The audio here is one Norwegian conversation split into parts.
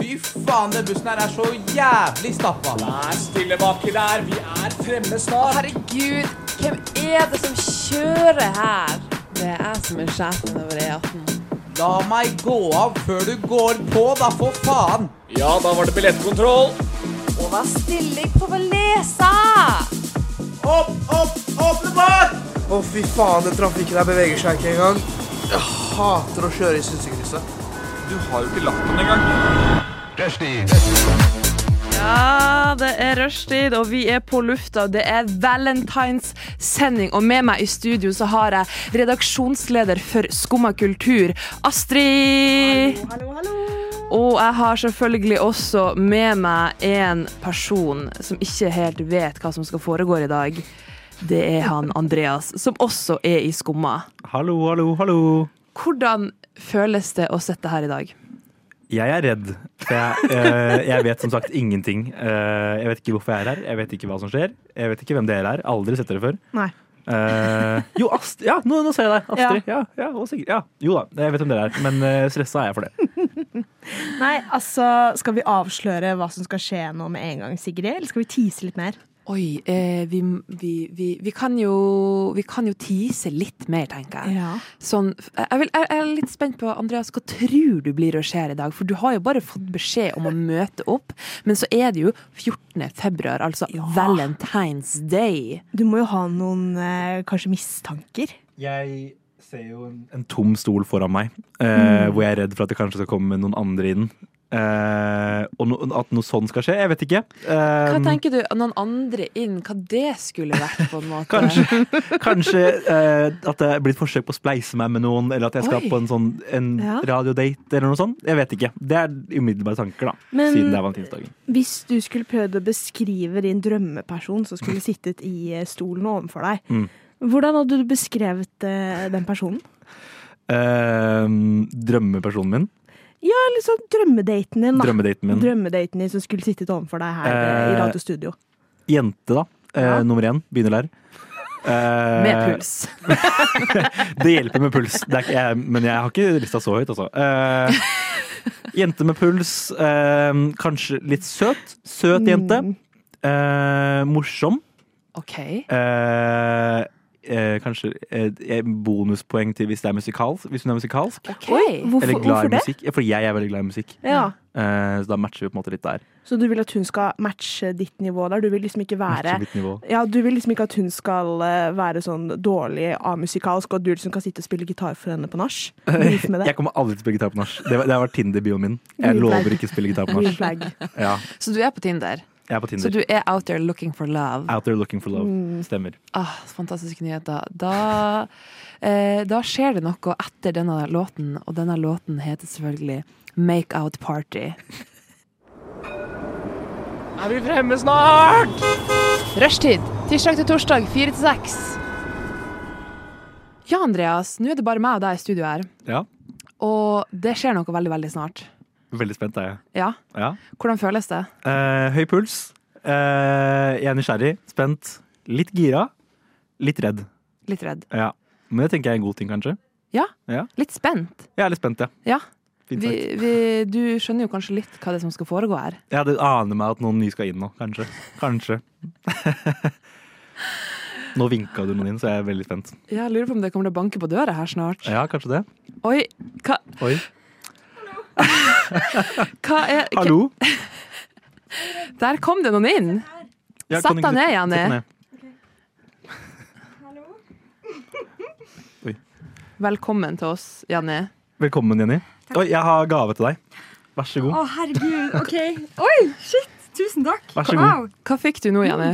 Fy faen, den bussen her er så jævlig stappa. Vær stille baki der, vi er fremme snart. Herregud, hvem er det som kjører her? Det er jeg som er sjefen over E18. La meg gå av før du går på, da, for faen! Ja, da var det billettkontroll. Og vær stille, jeg prøver å lese! Opp, opp, åpne båt! Å, fy faen, den trafikken her beveger seg ikke engang. Jeg hater å kjøre i synsekrysset. Du har jo ikke lagt den engang. Ja, det er rushtid, og vi er på lufta. Det er valentinssending, og med meg i studio så har jeg redaksjonsleder for Skumma kultur, Astrid. Hallo, hallo, hallo. Og jeg har selvfølgelig også med meg en person som ikke helt vet hva som skal foregå i dag. Det er han Andreas, som også er i Skumma. Hallo, hallo, hallo. Hvordan føles det å sitte her i dag? Jeg er redd. For jeg, eh, jeg vet som sagt ingenting. Eh, jeg vet ikke hvorfor jeg er her, jeg vet ikke hva som skjer. Jeg vet ikke hvem dere er. Aldri sett dere før. Nei. Eh, jo, Ast ja, nå, nå ser jeg deg. Astrid. Ja. Ja, og Sigrid. Ja. Jo da, jeg vet hvem dere er. Men eh, stressa er jeg for det. Nei, altså, skal vi avsløre hva som skal skje nå med en gang, Sigrid? Eller skal vi tease litt mer? Oi, eh, vi, vi, vi, vi, kan jo, vi kan jo tease litt mer, tenker jeg. Ja. Sånn, jeg, vil, jeg jeg er litt spent på, Andreas, hva tror du blir å skje i dag? For du har jo bare fått beskjed om å møte opp, men så er det jo 14. februar, altså Valentine's Day. Du må jo ha noen eh, kanskje mistanker. Jeg ser jo en, tom stol foran meg, eh, Mm. hvor jeg er redd for at det kanskje skal komme noen andre inn. Eh, og no, at noe sånn skal skje, jeg vet ikke. Eh, Hva tenker du, noen andre inn, hva det skulle vært på en måte? Kanskje, kanskje eh, at det blir et forsøk på å spleise meg med noen, eller at jeg skal Oi. på en, sånn, en Ja. radiodate eller noe sånt. Jeg vet ikke. Det er umiddelbare tanker, da. Men- siden det er valentinsdagen. Hvis du skulle prøvd å beskrive din drømmeperson som skulle sittet i eh, stolen overfor deg, Mm. hvordan hadde du beskrevet eh, den personen? Eh, drømmepersonen min. Eller så sånn drømmedaten din, da. Drømmedaten min. Drømmedaten din som skulle sittet overfor deg her eh, i Eh, radiostudio. Jente, da. Eh, Nummer én. Begynner der. Eh, Med puls. Det hjelper med puls. Det er ikke, jeg, men jeg har ikke lista så høyt, altså. Eh, jente med puls. eh, kanskje litt søt. Søt jente. Mm. Eh, morsom. Ok. Eh, eh, kanskje et et bonuspoeng til hvis det er musikals. Hvis hun er musikalsk. Ok. Hvorfor, Eller glad hvorfor i det? musikk. Ja, Fordi jeg er veldig glad i musikk. Ja. Eh, så da matcher vi på en måte litt der. Så du vil at hun skal matche ditt nivå der? Du vil liksom ikke være Matcher mitt nivå. Ja, Du vil liksom ikke at hun skal eh, være sånn dårlig amusikalsk, og at du liksom kan sitte og spille gitar for henne på nach? Beef med det. Jeg kommer aldri til å spille gitar på nach. Det, var- det har vært Tinder-bioen min. Jeg Green flag. lover ikke å spille gitar på Green nach. flag. Ja, Så du er på Tinder? jeg er på Så Tinder. du er out there looking for love? Out there looking for Mm. love. Stemmer. Ah, fantastiske nyheter. Da, eh, da skjer det noe etter denne låten, og denne låten heter selvfølgelig Make Out Party. Er vi fremme snart? Rushtid! Tirsdag til torsdag, fire til seks. Ja, Andreas, nå er det bare meg og deg i studio her, Ja. og det skjer noe veldig, veldig snart. Veldig spent er jeg. Ja, Ja. hvordan føles det? Eh, høy puls. Eh, jeg er nysgjerrig. Spent. Litt gira. Litt redd. Litt redd. Ja. Men det tenker jeg er en god ting, kanskje. Litt spent. Jeg er litt spent, ja. Ja. Fint Vi, sagt. vi, du skjønner jo kanskje litt hva det er som skal foregå her. Ja, det aner meg at noen nye skal inn nå, kanskje. Kanskje. nå vinka du noen inn, så jeg er veldig spent. Jeg lurer på om det kommer til å banke på døra her snart. Ja, kanskje det. Oi, hva, Oi. hva er hva, Hallo? Der kom det noen inn! Ja, Sett kan du deg ikke- ned, Janni. sett deg ned. Velkommen til oss, Janni. Velkommen, Jenny. Oi, jeg har gave til deg. Vær så god. Å, herregud. OK. Oi, shit. Tusen takk. Vær så god. Wow. Hva fikk du nå, Janni?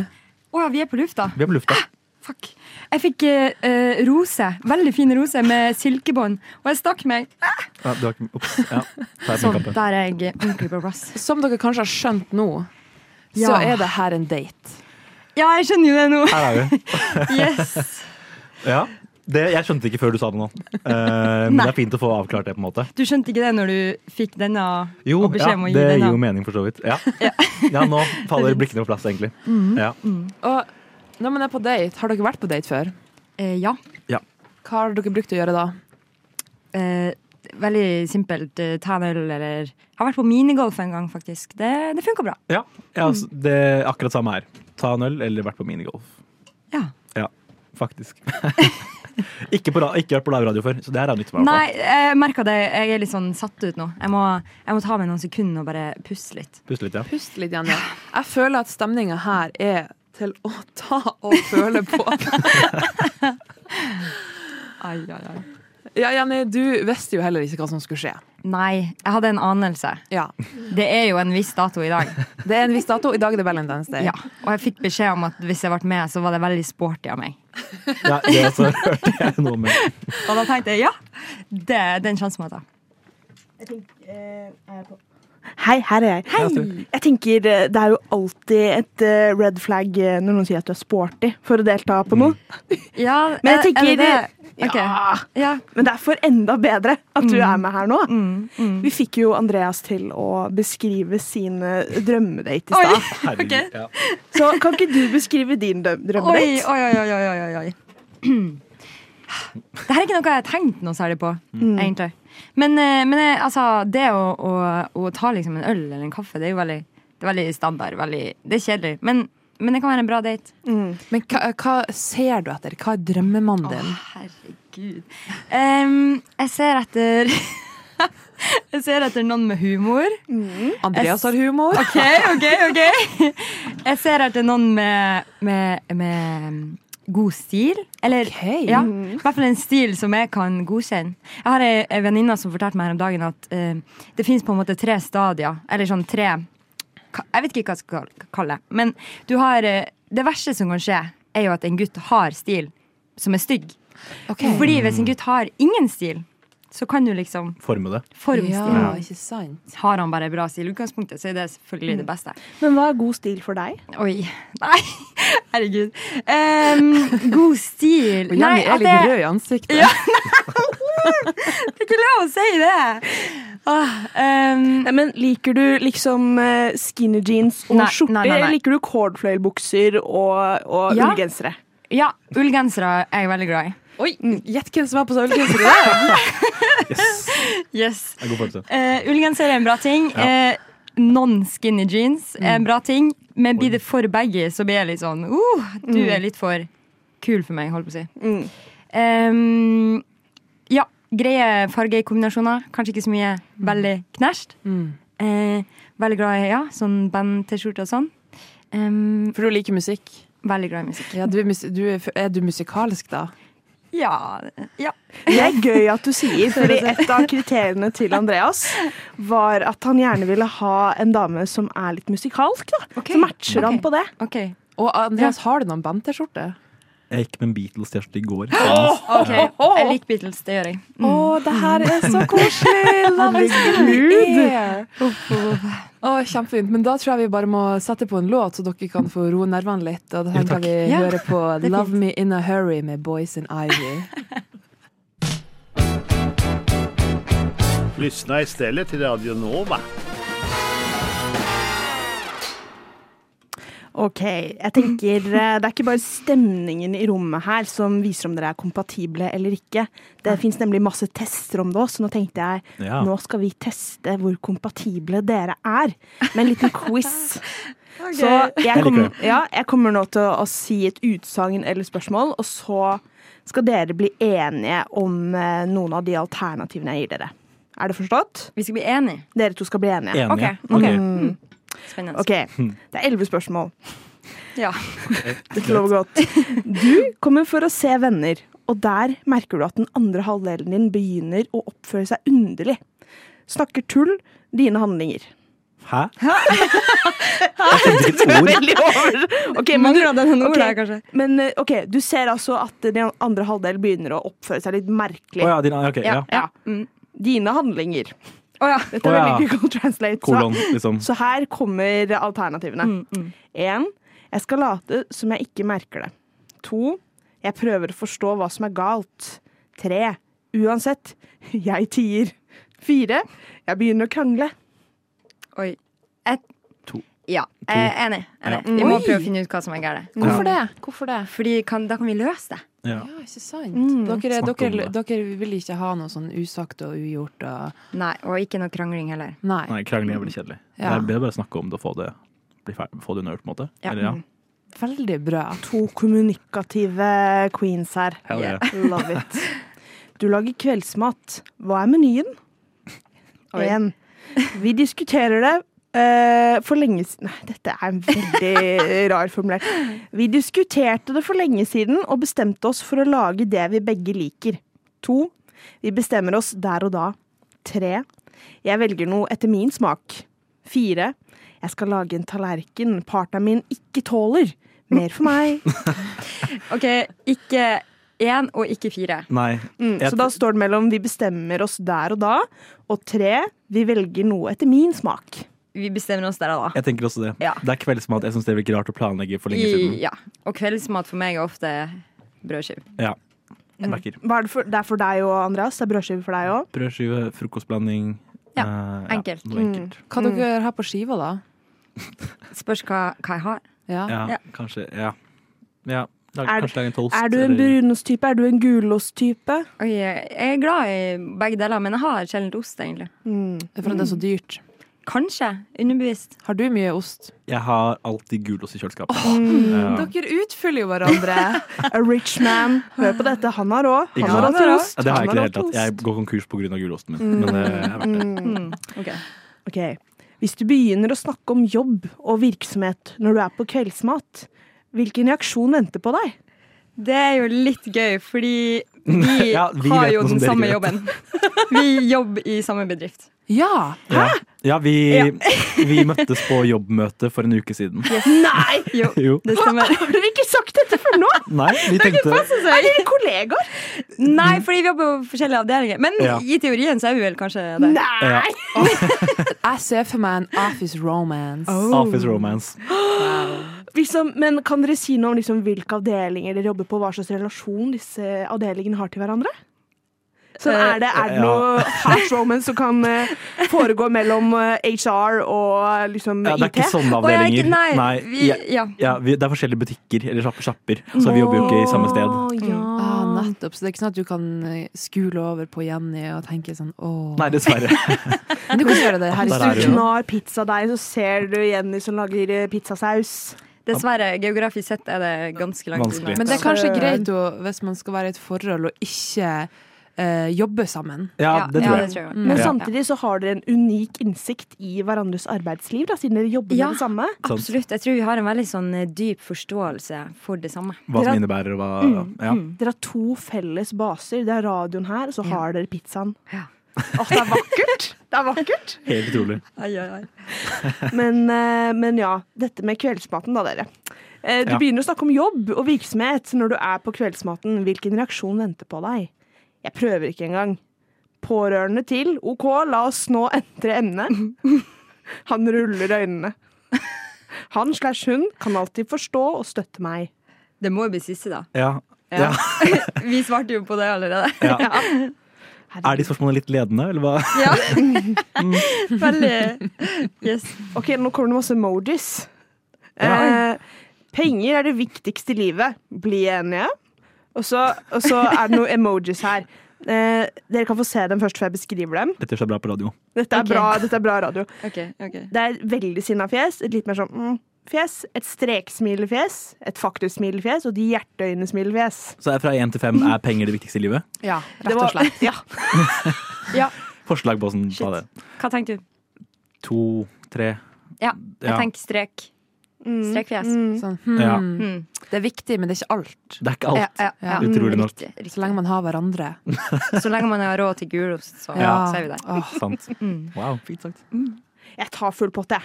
Å, ja, vi er på lufta. Vi er på lufta. Fuck. Jeg fikk eh, eh, rose. Veldig fine roser med silkebånd. Og jeg stakk meg. Ja, du har ikke... Ops. Ja. Ta et Sånn. minkappe. Der er jeg ordentlig på plass. Som dere kanskje har skjønt nå, så Ja. er det her en date. Ja, jeg skjønner jo det nå. Her er vi. Yes. Ja. Det, jeg skjønte ikke før du sa det nå. Eh, men det Nei. er fint å få avklart det, på en måte. Du skjønte ikke det når du fikk denne? Jo, Og beskjed ja, om å gi det den, gir da. jo mening, for så vidt. Ja, ja nå faller blikkene på plass, egentlig. Mhm. Ja. Og når man er på date, har dere vært på date før? Eh, ja. Hva har dere brukt å gjøre da? Eh, et veldig simpelt eh, ta en øl eller Jeg har vært på minigolf en gang, faktisk. Det, det funka bra. Ja, ja altså, det er akkurat samme her. Ta en øl eller vært på minigolf. Ja. Ja, faktisk. ikke, på, ra- ikke vært på live radio før, så det her er nytt for meg. i hvert Nei, jeg merka det. Jeg er litt sånn satt ut nå. Jeg må, jeg må ta meg noen sekunder og bare puste litt. fall. Puste litt, ja. Pust litt, Janne. Jeg føler at stemninga her er til å ta og føle på. Ai, ai, ai. Ja, Jenny, du visste jo heller ikke hva som skulle skje. Nei, jeg hadde en anelse. Ja. Det er jo en viss dato i dag. Det er en viss dato. I dag er det Valentine's Day. Ja. Og jeg fikk beskjed om at hvis jeg ble med, så var det veldig sporty av meg. ja det altså, hørte jeg noe med. Og da tenkte jeg ja, det, den sjansen må jeg ta. eh, Hei, her er jeg. Jeg tenker eh, Det er jo alltid et eh, red flag eh, når noen sier at du er sporty for å delta på noe. Ja, Men jeg Eh, er- er tenker det det? Ok. ja, Ja. Men det er for enda bedre at du er med her nå. Vi fikk jo Andreas til å beskrive sine drømmedate i stad. Herregud. Ja. Så kan ikke du beskrive din drø- Oi, drømmedate? oi, oi, oi, oi, oi, oi. Det her er ikke noe jeg har tenkt noe særlig på, egentlig. Men, eh, men eh, altså, det å, å, å ta liksom en øl eller en kaffe, det er jo veldig, det er veldig standard. Veldig, det er kjedelig. Men, men det kan være en bra date. Men hva, hå ser du etter? Hva er drømmemannen din? herregud. Em, jeg ser etter Jeg ser etter noen med humor. Andreas har humor. OK, OK, OK. Jeg ser etter noen med, med, med mm, god stil. Eller Ok. ja, i hvert fall en stil som jeg kan godkjenne. Jeg har ei ei venninne som fortalte meg her om dagen at eh, det fins på en måte tre stadier. Eller sånn tre ka- Jeg vet ikke hva jeg skal kall- kalle det. Men du har eh, Det verste som kan skje, er jo at en gutt har stil som er stygg. Fordi hvis en gutt har ingen stil, så kan du liksom Forme det. forme stilen. Ja, ikke sant? Har han bare bra stil i utgangspunktet, så er det selvfølgelig det beste. Men hva er god stil for deg? Oi. Nei, herregud. Em, god stil Og Jenny at er litt rød i ansiktet. Ja. Det er ikke lov å si det! Åh, Nei, em, Eh, men Liker du liksom eh, skinny jeans og Nei, skjorter? nei, nei, nei. eller Liker du cordfløyelbukser og, og Ja. ullgensere? ja, ullgensere er jeg veldig glad i. Oi, gjett hvem som er på sølvkunst i dag! Yes. Yes. Det er god følelse. Eh, ullgenser er en bra ting. Ja. Eh, Non-skinny jeans er Mm. en bra ting. Men blir det for baggy, så blir jeg litt sånn uh, Du er litt for kul for meg, holdt på å si. Mm. Em, ja, greie fargekombinasjoner. Kanskje ikke så mye veldig knæsj. Mm. Eh, veldig glad i ja, sånn band-T-skjorte og sånn. Em, For du liker musikk. veldig glad i musikk. Ja, du er, mus du er, er du musikalsk, da? Ja, ja. Det er gøy at du sier, fordi et av kriteriene til Andreas var at han gjerne ville ha en dame som er litt musikalsk. da. Så matcher han Ok. på det. OK. Og Andreas, har du noen band-T-skjorte? Jeg gikk med en Beatles-T-skjorte i går. ok. Jeg liker Beatles, det gjør jeg. Å, det her er så koselig! Love is in the air! Å, kjempefint. Men da tror jeg vi bare må sette på en låt, så dere kan få roe nervene litt. Og da tenker jeg vi Ja, hører på det er fint. Love Me In A Hurry med Boys and Ivy. Lyssna istället till Radio Nova. Ok, jeg tenker eh, Det er ikke bare stemningen i rommet her som viser om dere er kompatible eller ikke. Det fins nemlig masse tester om det òg, så nå tenkte jeg Ja. nå skal vi teste hvor kompatible dere er, med en liten quiz. Så jeg, Jeg liker kom, det. ja, jeg kommer nå til å si et utsagn eller spørsmål, og så skal dere bli enige om eh, noen av de alternativene jeg gir dere. Er det forstått? Vi skal bli enige. Dere to skal bli enige. Mm. Enige. Ok, ok. Ok. Spennende. Ok, Det er elleve spørsmål. Ja. Det lover godt. Du kommer for å se venner, og der merker du at den andre halvdelen din begynner å oppføre seg underlig. Snakker tull, dine handlinger. Hæ? Jeg skjønte ikke et ord. Veldig over. Ok, men, Mangler den en ok, ord der, kanskje? men eh, ok, du ser altså at den andre halvdelen begynner å oppføre seg litt merkelig. Å ja, din, ok, ja. Ja. Dine handlinger. Mm. Å ja. Dette er Å ja. veldig Google Translate. så- Kolon, liksom. Så her kommer mm, alternativene. Én jeg skal late som jeg ikke merker det. To jeg prøver å forstå hva som er galt. Tre uansett jeg tier. Fire jeg begynner å krangle. Oi. Jeg, To. Ja, eh, enig. enig. Ja. Vi må prøve å finne ut hva som er galt. Hvorfor det? Hvorfor det? Fordi kan, da kan vi løse det. Ja. Ja, ikke sant? Mm. Dere, Snakk om dere, dere vil ikke ha noe sånn usagt og ugjort og Nei, Og ikke noe krangling heller. Nei. Nei, krangling er veldig kjedelig. Det Ja. er bedre å bare snakke om det og få det, bli ferdig, få det unnagjort, på en måte. Ja. Mm. Eller, ja. Veldig bra. To kommunikative queens her. Hell yeah. Love it. Du lager kveldsmat. Hva er menyen? Oi. En. Vi diskuterer det eh, for lenge siden Nei, dette er en veldig rar formulert. Vi diskuterte det for lenge siden og bestemte oss for å lage det vi begge liker. To. Vi bestemmer oss der og da. Tre. Jeg velger noe etter min smak. Fire. Jeg skal lage en tallerken partneren min ikke tåler. Mer for meg. OK, ikke én og ikke fire. Nei. Mm, Jeg så da står det mellom vi bestemmer oss der og da, og tre vi velger noe etter min smak. Vi bestemmer oss der og da. Jeg tenker også det. Ja. Det er kveldsmat. Jeg syns det virker rart å planlegge for lenge I, siden. ja. Og kveldsmat for meg er ofte brødskive. Ja. Merker. Hva er det, for, det er for deg og Andreas. Det er brødskive for deg òg. Brødskive, frokostblanding. Ja, eh, enkelt. noe enkelt. Hva dere har på skiva, da? Spørs hva, hva jeg har. Ja. Ja, Ja. kanskje. Ja. ja. Lag, Er- kanskje lage en toast. Er du en eller- brunosttype? Er du en gulosttype? Oi, jeg er glad i begge deler, men jeg har sjelden ost, egentlig. Det er fordi det er så dyrt. Kanskje. Underbevist. Har du mye ost? Jeg har alltid gulost i kjøleskapet. ja. Dere utfyller jo hverandre. A rich man. Hør på dette. Han har råd. Ikke Han har sant? hatt ost. Ja, det har jeg Han ikke i det hatt hele tatt. Jeg går konkurs pga. gulosten min. Men eh, det er verdt det. Ok, Hvis du begynner å snakke om jobb og virksomhet når du er på kveldsmat, hvilken reaksjon venter på deg? Det er jo litt gøy, fordi vi, Ja, vi har vet jo noe som den dere samme ikke jobben. Vi jobber i samme bedrift. Ja! Ja, ja vi, vi møttes på jobbmøte for en uke siden. Nei! Jo, Jo. det stemmer. Har dere ikke sagt dette før nå? Nei, vi tenkte Er dere kollegaer? Nei, fordi vi jobber på forskjellige avdelinger. Men Ja. i teorien så er vi vel kanskje det. ja, Jeg ser for meg en office romance. Office Romance. Liksom, men Kan dere si noe om liksom, hvilke avdelinger dere jobber på, hva slags relasjon disse avdelingene har til hverandre? Så er det, er Eh, det ja. noe harsh romance som kan eh, foregå mellom eh, HR og eh, liksom, Ja, det er IT? ikke sånne Å, jeg er ikke- avdelinger. Nei, Nei, vi, ja, ja. ja, vi, det er forskjellige butikker eller sjapp- sjapper, så vi jobber jo ikke i samme sted. Å, ja. Ah, nettopp. Så det er ikke sånn at du kan eh, skule over på Jenny og tenke sånn åh. Nei, dessverre. Men du kan gjøre det her i Der er studio. hun. Knar pizzadeig, så ser du Jenny som lager eh, pizzasaus. Dessverre, geografisk sett er det ganske langt Vanskelig. Men det er kanskje greit å, hvis man skal være i et forhold og ikke eh, jobbe sammen. Ja, Ja, det ja, tror det jeg. tror jeg. Men Ja. samtidig så har dere en unik innsikt i hverandres arbeidsliv, da, siden dere jobber Ja. med det samme. Sant. Absolutt. Jeg tror vi har en veldig sånn eh, dyp forståelse for det samme. Hva som innebærer og hva ja. Dere har to felles baser. Det er radioen her, og så har dere pizzaen. Ja. Åh, det er vakkert! Det er vakkert. Helt utrolig. Men, eh, men ja, dette med kveldsmaten da, dere. Eh, Du Ja. begynner å snakke om jobb og virksomhet når du er på kveldsmaten. Hvilken reaksjon venter på deg? Jeg prøver ikke engang. Pårørende til. OK, la oss nå entre emnet. Han ruller øynene. Han slash hun kan alltid forstå og støtte meg. Det må jo bli siste, da. Ja. Ja. Vi svarte jo på det allerede. Ja. Er de spørsmålene litt ledende, eller hva? Ja. Veldig Yes. Ok, nå kommer det masse emojis. Eh, penger er det viktigste i livet. Bli enige. Og så, og så er det noen emojis her. Eh, dere kan få se dem først før jeg beskriver dem. Dette gjør seg bra på radio. Dette er, Ok. bra, dette er bra radio. OK. ok Det er et veldig sinna fjes, et litt mer sånn mm, fjes, et streksmilefjes, et faktisk smilefjes og de hjerteøyne-smilefjes. Så er fra én til fem er penger det viktigste i livet. Ja, rett og slett. Ja. Forslag på sånn, ta det. Shit. Hva tenker du? To, tre. Ja, jeg Ja. tenker strek. Mm. Strekfjes. Sånn, hmm, Ja. Det er viktig, men det er ikke alt. Det er ikke alt. Ja, ja. Utrolig nok. Riktig, Så lenge man har hverandre. riktig. Så lenge man har råd til gulost, så, Ja. så er vi der. Åh, Sant. Wow, fint sagt. Jeg tar full pott, jeg.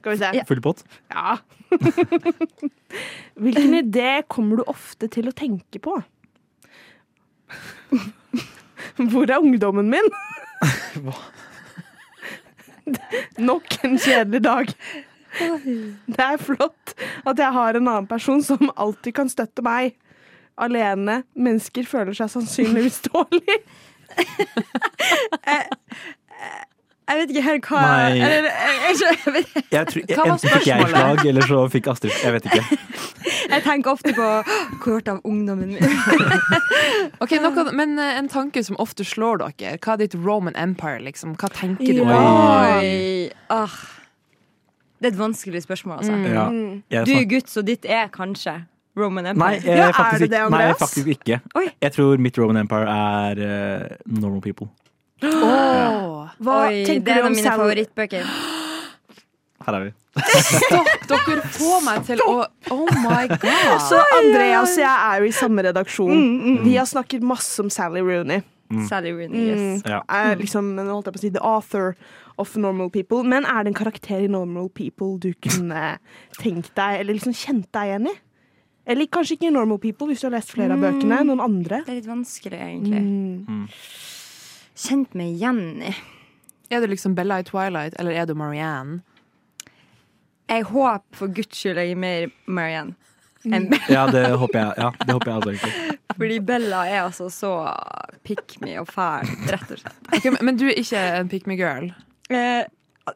Skal vi se. Ja. Full pott? Ja. Hvilken idé kommer du ofte til å tenke på? Hvor er ungdommen min? Nok en kjedelig dag. Det er flott at jeg har en annen person som alltid kan støtte meg. Alene mennesker føler seg sannsynligvis dårlig. Jeg vet ikke helt hva Nei. eller, jeg, jeg, skjø- jeg, vet- Jeg tror, Hva var enten fikk jeg spørsmålet? slag, eller så fikk Astrid Jeg vet ikke. jeg tenker ofte på «Åh, hvor ble det av ungdommen min. Ok, noe, Men eh, en tanke som ofte slår dere. Hva er ditt Roman Empire, liksom? Hva tenker du? Ja. på? Oi. Ah. Det er et vanskelig spørsmål, altså. Ja, jeg Du snak- er gutt, så ditt er kanskje Roman Nei, Empire. eh, Ja, er faktisk, det det, ikke. Nei, Andreas? faktisk ikke. Oi. Jeg tror mitt Roman Empire er eh, normal people. Åh. Hva Oi, det tenker er du en av om mine Sal favorittbøker. Her er vi. Stopp! Dere får meg til å Oh my god! Så Andreas og jeg er jo i samme redaksjon. Vi har snakket masse om Sally Rooney. Mm. Sally Rooney. Yes. Ja. Er Mm. liksom, nå holdt jeg på å si, the author of Normal People. Men er det en karakter i Normal People du kunne tenkt deg, eller liksom kjent deg igjen i? Eller kanskje ikke i Normal People, hvis du har lest flere av bøkene. Mm. Noen andre. Det er litt vanskelig, egentlig. Mm. Kjent meg igjen i Er du liksom Bella i Twilight, eller er du Marianne? Jeg håper for guds skyld jeg er mer Marianne enn ja, det håper jeg. Ja, det håper jeg altså egentlig. Fordi Bella er altså så pick me og fæl, rett og slett. Ok, men- men du er ikke en pick me girl? Eh,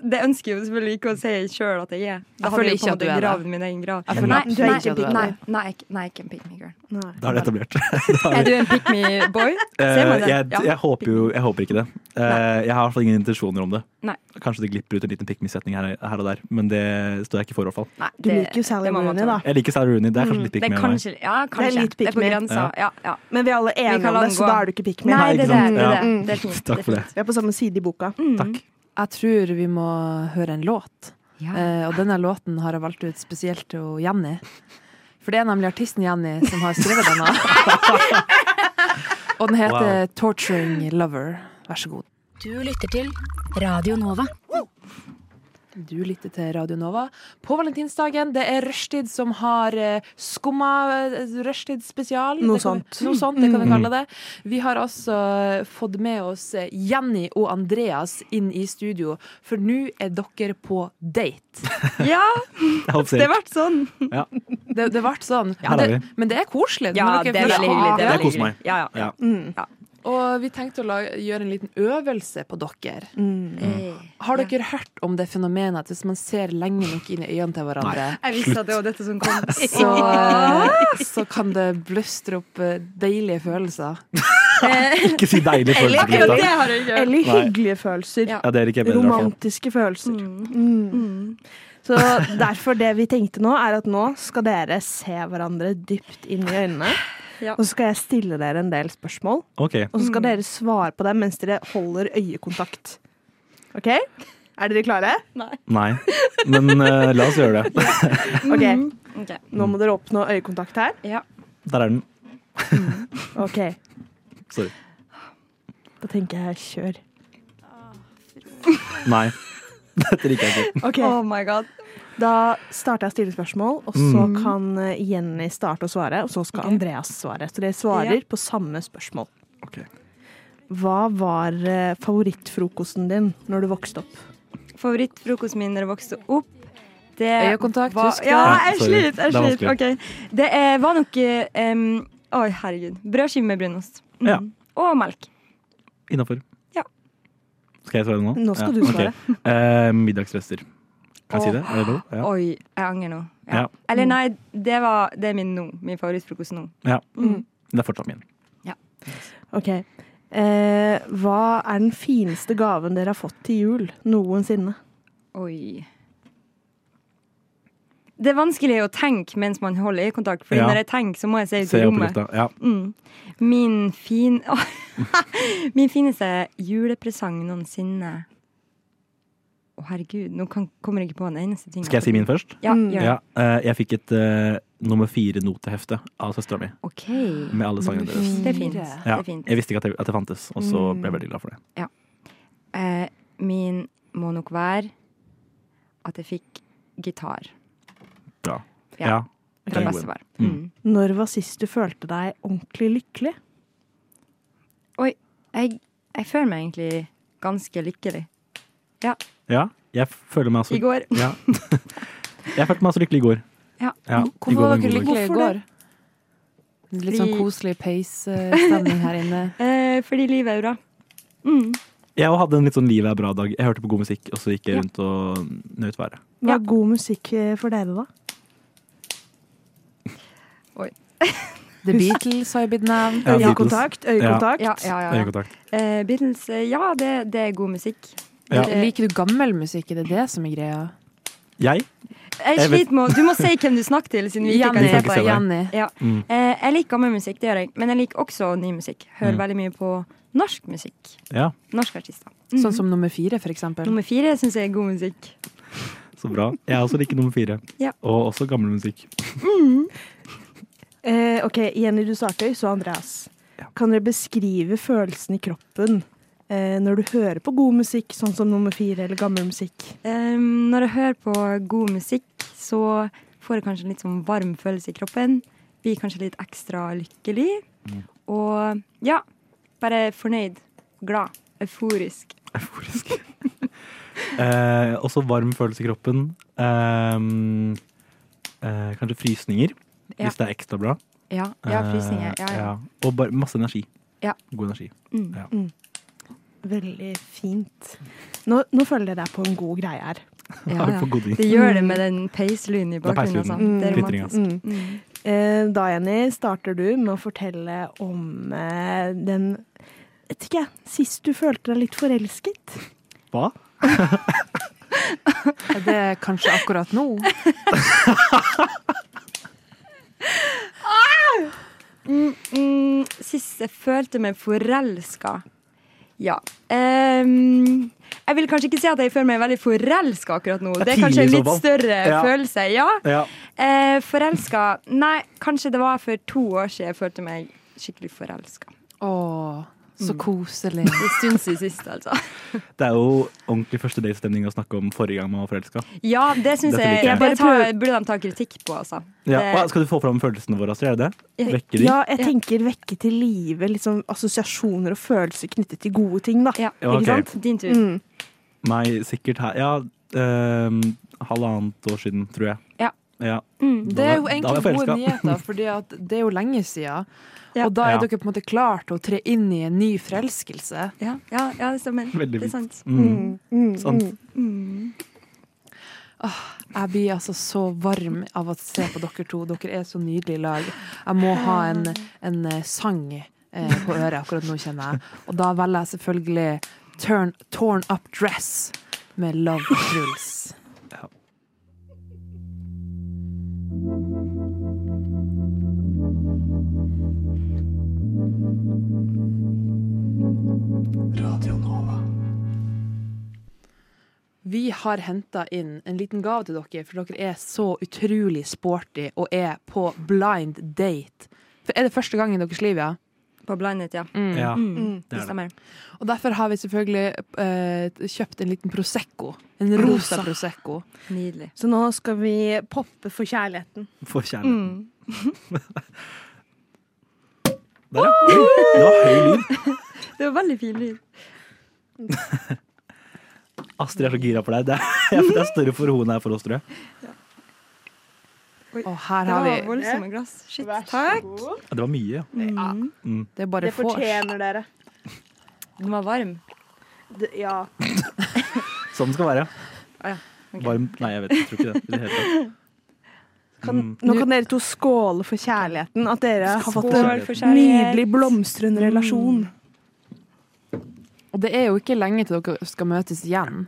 det ønsker jeg jo selvfølgelig ikke å si sjøl at jeg er. Jeg Da hadde føler jeg på en ikke at du måte er det. gravd min egen grav. Jeg føler Nei, absolutt nei, ikke at du er det. nei, nei, ikke- nei, ikke en pick me girl. Nei. Da er det etablert. Er du en pick me boy? Ser man Eh, det? jeg, Ja. jeg håper jo jeg håper ikke det. Eh, jeg har i hvert fall ingen intensjoner om det. Nei. Kanskje det glipper ut en liten pikmisetning her, her og der, men det står jeg ikke for. i hvert fall Nei, Du det- liker jo Sally det må man Rooney, ta. da. Jeg liker Sarah Rooney. Det er kanskje litt pikk Mm, Det er med meg. kanskje, ja, kanskje. litt Det er pick på me. grensa. Ja, ja. Men vi er alle enige kan om det, så omgå. da er du ikke pick me. Nei, ikke det er det. sant? det, er Ja. det. det er fint. Takk for er det. fint. Vi er på samme side i boka. Mm. Takk. Jeg tror vi må høre en låt. Ja. Eh, og denne låten har jeg valgt ut spesielt til Jenny. For det er nemlig artisten Jenny som har skrevet denne. og den heter 'Torturing Lover'. Vær så god. Du lytter til Radio Nova. Du lytter til Radio Nova på valentinsdagen. Det er Rushtid som har eh, skumma eh, Rushtid spesial. Noe Det kan vi- sånt. Noe sånt, det kan vi Mm. kalle det. Vi har altså fått med oss Jenny og Andreas inn i studio, for nå er dere på date. Ja, Jeg håper det selv. har vært sånn. Det, det ble sånn. Ja, det, det er vi. men det er koselig. Ja, når det dere er først- veldig hyggelig. Det er Jeg veldig koser meg. hyggelig. Ja, ja. Ja. Og vi tenkte å la, gjøre en liten øvelse på dere. Mm. Har dere hørt om det fenomenet at hvis man ser lenge nok inn i øynene til hverandre, Jeg visste at det var dette som kom. så, eh, så kan det bløstre opp eh, deilige følelser? Ikke si deilig følelse. Akkurat Greta. det har jeg ikke hørt. Eller Nei. hyggelige følelser. Ja. Ja, det liker jeg bedre. i hvert fall. Romantiske følelser. Mm. Så derfor det vi tenkte nå, er at nå skal dere se hverandre dypt inn i øynene. Ja. Og så skal jeg stille dere en del spørsmål, Ok, og så skal dere svare på dem mens dere holder øyekontakt. OK? Er dere klare? Nei, men eh, la oss gjøre det. OK. Ok. Nå må dere oppnå øyekontakt her. Der er den. OK. Sorry. Da tenker jeg kjør. Nei. Dette liker jeg ikke. OK. Oh my god. Da starter jeg å stille spørsmål, og så Mm. kan eh, Jenny starte å svare, og så skal Andreas svare. Så dere svarer på samme spørsmål. Ok. Hva var eh, favorittfrokosten din når du vokste opp? Favorittfrokosten min da jeg vokste opp det Øyekontakt, var, husk det. ja, Ja, jeg sorry. sliter. Jeg Det er sliter. Ok. Det eh, var nok eh, em, Oi, herregud. Brødskive med brunost. Mm. Ja. Og melk. Innafor. Ja. Skal jeg svare nå? Nå skal du ok. svare. Eh, middagsrester. Kan jeg si det? Er det lov? Ja. Oi, jeg angrer nå. Ja. Eller nei, det, var, det er min nå. Min favorittfrokost nå. ja. Mm. Det er fortsatt min. Ok. Eh, hva er den fineste gaven dere har fått til jul noensinne? Oi. Det er vanskelig å tenke mens man holder øyekontakt, for Ja. når jeg tenker, så må jeg se ut Se i opp i rommet. lufta. Ja. Mm. Min fin... Min fineste julepresang noensinne. Å, herregud, nå kan, kommer jeg ikke på en eneste ting. Skal jeg si min først? Ja, gjør det. Ja. eh, jeg fikk et eh, nummer fire notehefte av søstera mi OK. med alle sangene deres. Det er fint. Mm. Det Mm. Ja. er fint. Mm. Jeg visste ikke at det, at det fantes, og så ble jeg veldig glad for det. Eh, min må nok være at jeg fikk gitar Bra. Ja. Ja. fra Ok. bestefar. Mm. Når var sist du følte deg ordentlig lykkelig? Jeg, jeg føler meg egentlig ganske lykkelig. ja. Jeg føler meg også I går. Ja. Jeg følte meg så lykkelig i går. Ja. I Hvorfor går var en dere god dag. lykkelige i går? Litt sånn Fordi- koselig pace-stemning her inne. Eh, fordi livet er bra. Jeg hadde en litt sånn livet er bra-dag. Jeg hørte på god musikk, og så gikk jeg rundt og nøt været. Hva er god musikk eh, for dere, da? The Beatles har jo blitt nevnt. Ja, Øyekontakt? Øyekontakt? Ja, ja, ja. ja. Øyekontakt. Eh, Beatles, eh, ja, det, det er god musikk. Ja. Eh, Liker du gammel musikk? Er det det som er greia? Jeg? Jeg Jeg vet- sliter med å Du må si hvem du snakker til, siden vi ikke Vi kan kan se ikke på se deg. deg. Jenny. Ja. Mm. Eh, jeg liker gammel musikk, det gjør jeg. Men jeg liker også ny musikk. Hører veldig mye på norsk musikk. Mm. Ja, Norske artister. Sånn som nummer fire, for eksempel. Nummer fire syns jeg er god musikk. så bra. Jeg er også like nummer fire. Ja. Og også gammel musikk. Eh, ok, Jenny, du starter, så Andreas. Kan dere beskrive følelsen i kroppen eh, når du hører på god musikk, sånn som nummer fire eller gammel musikk? Eh, når jeg hører på god musikk, så får jeg kanskje en litt sånn varm følelse i kroppen. Blir kanskje litt ekstra lykkelig. Mm. Og ja, bare fornøyd. Glad. Euforisk. Euforisk. eh, også varm følelse i kroppen. Ehm, eh, kanskje frysninger, Ja. hvis det er ekstra bra. Ja, ja Eh, frysninger. Ja, ja. ja. Og bare masse energi. Ja. God energi. Mm. Ja. Veldig fint. Nå, nå føler jeg deg på en god greie her. Ja, ja. For god drink. Det gjør det med den peislyden i er bakgrunnen. Altså. peislyden. Det er Glittringa. romantisk. Mm. Mm. Eh, Da, Jenny, starter du med å fortelle om eh, den vet ikke jeg, Sist du følte deg litt forelsket? Hva? Er det kanskje akkurat nå? Mm, sist jeg følte meg forelska. Ja. Ehm, jeg vil kanskje ikke si at jeg føler meg veldig forelska akkurat nå. Det er Det er kanskje tidlig i en så litt fall. større Ja. følelse. Ja. Ja. Eh, forelska Nei, kanskje det var for to år siden jeg følte meg skikkelig forelska. Å, Mm. så koselig. En stund siden sist, altså. Det er jo ordentlig første date-stemning å snakke om forrige gang man var forelska. Ja, det syns Dette jeg liker jeg. Det tar, burde de ta kritikk på, altså. Ja. Det- Hva, Skal du få fram følelsene våre, Astrid? Er det det? Ja. Vekke de? Ja, jeg tenker vekke til live liksom, assosiasjoner og følelser knyttet til gode ting, da. Ja. Ja, ok. Ikke sant? Din tur. Mm. Meg sikkert her Ja, ehm, halvannet år siden, tror jeg. Ja. Mm. Da Det er jo var- da var jeg egentlig gode forelska. nyheter, fordi at det er jo lenge siden. Ja. Og da er Ja. dere på en måte klar til å tre inn i en ny forelskelse. Ja, ja, ja, det stemmer. Veldig Det er fint. sant. Mm. Sant. Jeg blir altså så varm av å se på dere to. Dere er så nydelige i lag. Jeg må ha en, en eh, sang eh, på øret akkurat nå, kjenner jeg. Og da velger jeg selvfølgelig turn, Torn Up Dress med Love Truls. Vi har henta inn en liten gave til dere, for dere er så utrolig sporty og er på blind date. For er det første gang i deres liv, ja? På Blindet, ja. Ja, Mm, det det er det. stemmer. Og derfor har vi selvfølgelig eh, kjøpt en liten Prosecco. En rosa Prosecco. Nydelig. Så nå skal vi poppe for kjærligheten. For kjærligheten. Der, ja. Oi, Det var høy lyd. Det var veldig fin lyd. Astrid er så gira på deg. Det er, det er større for henne enn for oss, tror jeg. Og her har Det var vi voldsomme glass. Shit, takk. Ja, Det var mye, ja. Det er bare Det vors. fortjener dere. Den var varm. Det- Ja. Sånn det skal være. Ah, ja. Ok. Varm Nei, jeg vet jeg tror ikke det. i det hele tatt. Kan, nå kan dere to skåle for kjærligheten. At dere har fått en Skål for kjærlighet. nydelig, blomstrende relasjon. Og det er jo ikke lenge til dere skal møtes igjen.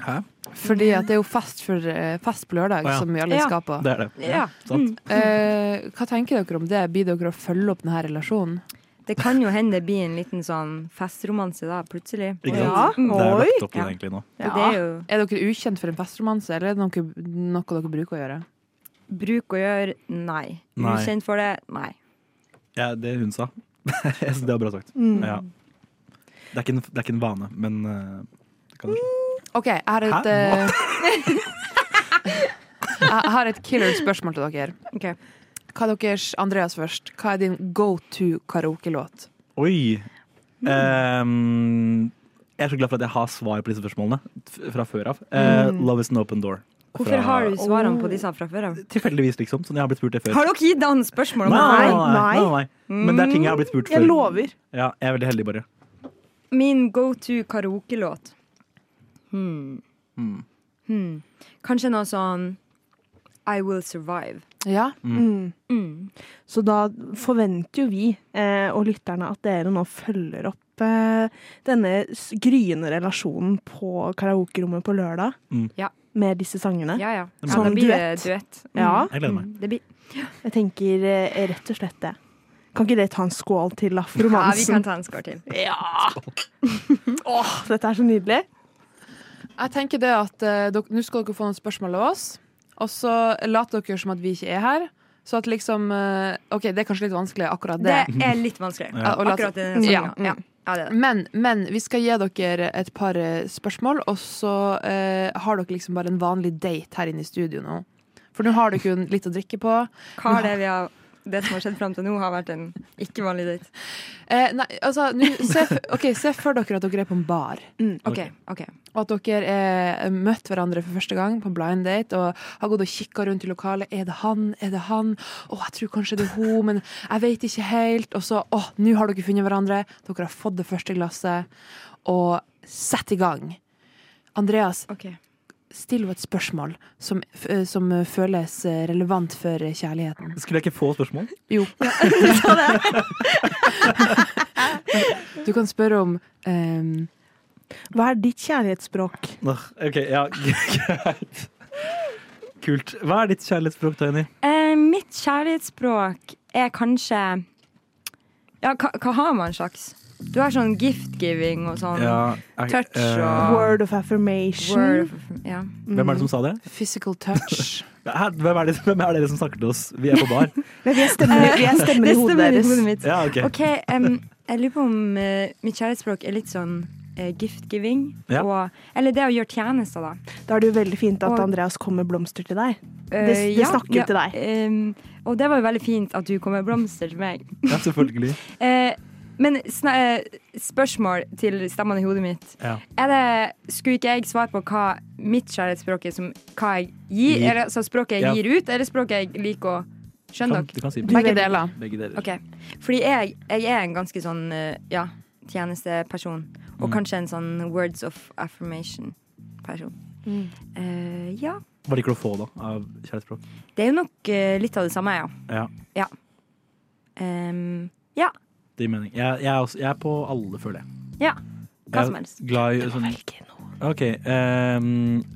Hæ? Fordi at det er jo fest, for, eh, fest på lørdag, Å ja. som vi alle Ja. skal på. Det er det. Ja. Sant. Eh, hva tenker dere om det? Blir dere å følge opp denne relasjonen? Det kan jo hende det blir en liten sånn festromanse da, plutselig. Ikke Ja. sant? Det er lagt opp til Ja. det egentlig nå. Og det er jo Er dere ukjent for en festromanse, eller er det noe, noe dere bruker å gjøre? bruk og gjør nei. Nei. Ukjent for det nei. Ja, det hun sa. Jeg synes det var bra Mm. sagt. Ja. Det, er ikke en, det er ikke en vane, men eh, det kan det OK, jeg har et Hæ? eh, Jeg har et killer spørsmål til dere. Ok. Hva er deres, Andreas først, hva er din go to karaoke-låt? Oi! Mm. Ehm, jeg er så glad for at jeg har svar på disse spørsmålene f- fra før av. Eh, Love is an open door. Mm. Hvorfor Fra- har du svarene på disse fra før av? Tilfeldigvis, liksom. Sånn jeg har blitt spurt det før. Har dere gitt han spørsmål om Nei, det? Mm. nei, nei, nei, nei. Men det er ting jeg har blitt spurt Jeg før. lover. Ja, jeg er veldig heldig, bare. Min go to karaoke-låt hmm. Hmm. Kanskje noe sånn I Will Survive. Ja. Mm. Så da forventer jo vi eh, og lytterne at dere nå følger opp eh, denne s- gryende relasjonen på karaokerommet på lørdag Mm. Ja. med disse sangene. Ja, ja. ja Som da blir det duett. duett. Mm. Ja, Jeg gleder meg. Det blir jeg tenker eh, rett og slett det. Kan ikke dere ta en skål til Ja, vi kan afromansen? ta en skår til. Åh, dette er så nydelig. Jeg tenker det at eh, dok- Nå skal dere få noen spørsmål av oss, og så later dere som at vi ikke er her. Så at liksom eh, OK, det er kanskje litt vanskelig, akkurat Det det. er litt vanskelig. Ja. Og la- Akkurat i den sangen. Ja. Ja. Ja, det er det. Men, men vi skal gi dere et par eh, spørsmål, og så eh, har dere liksom bare en vanlig date her inne i studio nå. For nå har dere jo litt å drikke på. Hva er det vi har det som har skjedd fram til nå, har vært en ikke vanlig date. Eh, nei, altså, nå, se, f- ok, se for dere at dere er på en bar. Ok, ok Og at dere har møtt hverandre for første gang på blind date og har gått og kikka rundt i lokalet. Er det han? Er det han? Å, jeg tror kanskje det er hun, men jeg vet ikke helt. Og så, å, nå har dere funnet hverandre. Dere har fått det første glasset. Og sett i gang. Andreas, still henne et spørsmål som, f- eh, som eh, føles eh, relevant for eh, kjærligheten. Skulle jeg ikke få spørsmål? Jo. du kan spørre om ehm, Hva er ditt kjærlighetsspråk? Åh, Ok, ja, greit. Kult. Hva er ditt kjærlighetsspråk, Tiny? Eh, mitt kjærlighetsspråk er kanskje Ja, hva, hva har man slags? Du har sånn gift-giving og sånn. Touch eh, og Word of affirmation. Word of, ja. Hvem er det som sa det? physical touch. Hæ? Hvem er, det, hvem er dere som snakker til oss? Vi er på bar. Men vi er stemmen, vi er stemmen i hodet deres. mitt. Ja, ok. OK, em, jeg lurer på om eh, mitt kjærlighetsspråk er litt sånn eh, gift-giving. Ja. og- Eller det å gjøre tjenester, da. Da er det jo veldig fint at Og- Andreas kom med blomster til deg. Eh, Det- det snakker til deg. em, og det var jo veldig fint at du kom med blomster til meg. Ja, selvfølgelig. Eh, men sna eh, spørsmål til stemmene i hodet mitt. Ja. Er det, skulle ikke jeg svare på hva mitt kjærlighetsspråk er, som hva jeg gir? Gir. Eller, altså språket jeg Ja. gir ut, eller språket jeg liker å Skjønner Kan, dere? du kan si Begge deler. begge deler. Ok. Fordi jeg, jeg er en ganske sånn eh, ja, tjenesteperson. Og Mm. kanskje en sånn words of affirmation-person. Mm. Eh, ja. Hva liker du å få da, av kjærlighetsspråk? Det er jo nok eh, litt av det samme, ja. Ehm, Ja, Em, det gir mening. Jeg, jeg, er også, jeg er på alle, føler jeg. ja. Hva Jeg som er helst. Glad i sånn OK. ehm,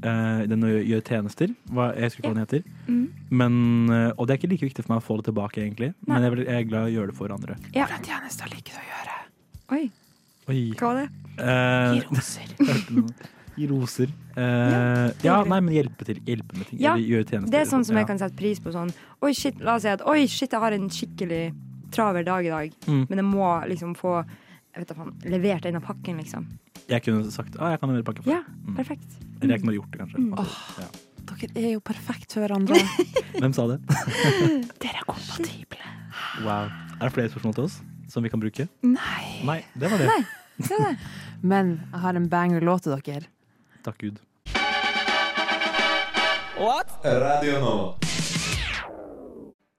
eh, den å gjø- gjøre tjenester. Hva, jeg husker ikke hva den heter. Mm. Men, eh, og det er ikke like viktig for meg å få det tilbake, egentlig. Nei. Men jeg, er veldig- jeg er glad i å gjøre det for andre. Ja. Hvordan tjenester liker du å gjøre? Oi, Oi. hva var det? Eh, Gi roser. hørte noe. Gi roser. Eh, ja, nei, men hjelpe til. Hjelpe med ting. Ja, Eller gjøre tjenester. liksom. Det er sånn som ja. jeg kan sette pris på sånn Oi, shit, la oss si at Oi, shit, jeg har en skikkelig travel dag i dag Mm. Men jeg må liksom få Jeg vet da faen, levert en av pakken liksom Jeg kunne sagt ah, jeg kan levere pakke for Ja, deg. perfekt Mm. Eller jeg kunne gjort det, kanskje. Akkurat, Ja. Dere er jo perfekt for hverandre. Hvem sa det? Dere er kompatible. Wow. Er det flere spørsmål til oss som vi kan bruke? Nei. Nei, det var det. Men jeg har en banger låt til dere. Takk Gud.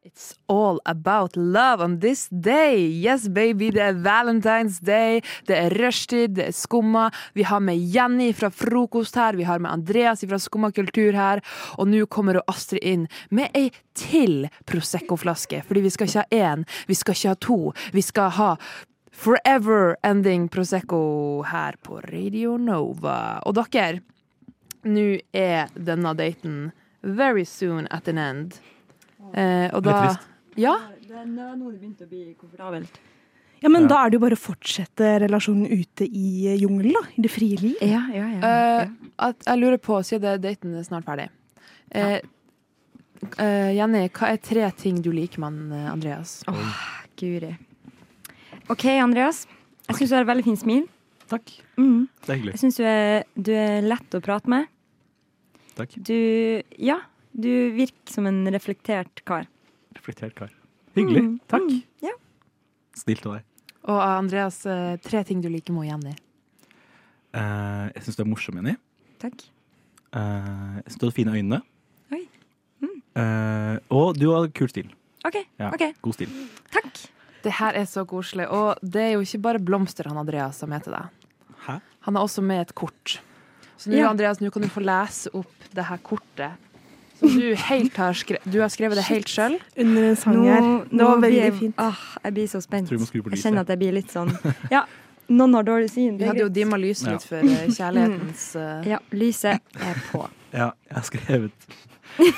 It's all about love on this day. Yes, baby, det er Valentine's Day. Det er rushtid, det er skumma. Vi har med Jenny fra Frokost her, vi har med Andreas fra Skumma kultur her. Og nå kommer jo Astrid inn med ei til Prosecco-flaske. Fordi vi skal ikke ha én, vi skal ikke ha to. Vi skal ha Forever Ending Prosecco her på Radio Nova. Og dere, nå er denne daten very soon at an end. Eh, og Litt da trist. Ja, Det er nå det begynte å bli komfortabelt Ja, men Ja. da er det jo bare å fortsette relasjonen ute i eh, jungelen, da. I det frie liv. Ja, ja, Mm, ja, eh, at jeg lurer på, siden det- daten er snart ferdig eh, eh, Jenny, hva er tre ting du liker med han, eh, Andreas? ja. Guri Ok, Andreas Jeg synes du har et veldig fint smil Takk. Mhm. Det er hyggelig. Jeg synes du er, du er lett å prate med Takk. Du, ja, du virker som en reflektert kar Reflektert kar. Hyggelig. Mm, Takk. mm, ja. Snilt av deg. Og eh, Andreas, eh, tre ting du liker med Jenny. Eh, jeg syns du er morsom, Jenny. Takk Eh, jeg syns du har fine øyne. Oi. Eh, og du har kul stil. Ok, Ja. ok, God stil. takk Det her er så koselig, og det er jo ikke bare blomster han Andreas har med til deg. Hæ? Han er også med et kort. Så nå, Ja. Andreas, nå kan du få lese opp det her kortet. Som du, helt har skre du har skrevet det helt sjøl. Under en sang her. Det var blir veldig jeg, fint. Åh, jeg blir så spent. Tror vi må skru på Jeg lyset. kjenner at jeg blir litt sånn Ja, noen har dårlig syn. Vi det er hadde jo greit. dimma lyset Ja. litt for eh, kjærlighetens eh, Ja, lyset er på. Ja, jeg har skrevet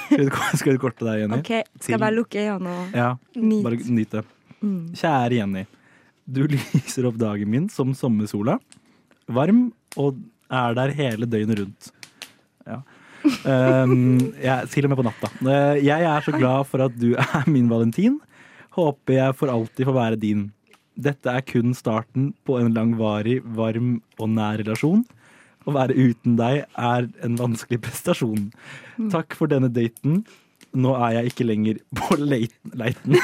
Skal du- Skal du korte deg, Jenny? OK, skal jeg bare lukke øynene og Ja, bare nyte? Mm. nyt det. Kjære Jenny. Du lyser opp dagen min som sommersola. Varm og er der hele døgnet rundt. Ja. Um, jeg, til og med på natta. Eh, Jeg er så glad for at du er min valentin. Håper jeg for alltid får være din. Dette er kun starten på en langvarig, varm og nær relasjon. Å være uten deg er en vanskelig prestasjon. Takk for denne daten. Nå er jeg ikke lenger på leiten. leiten.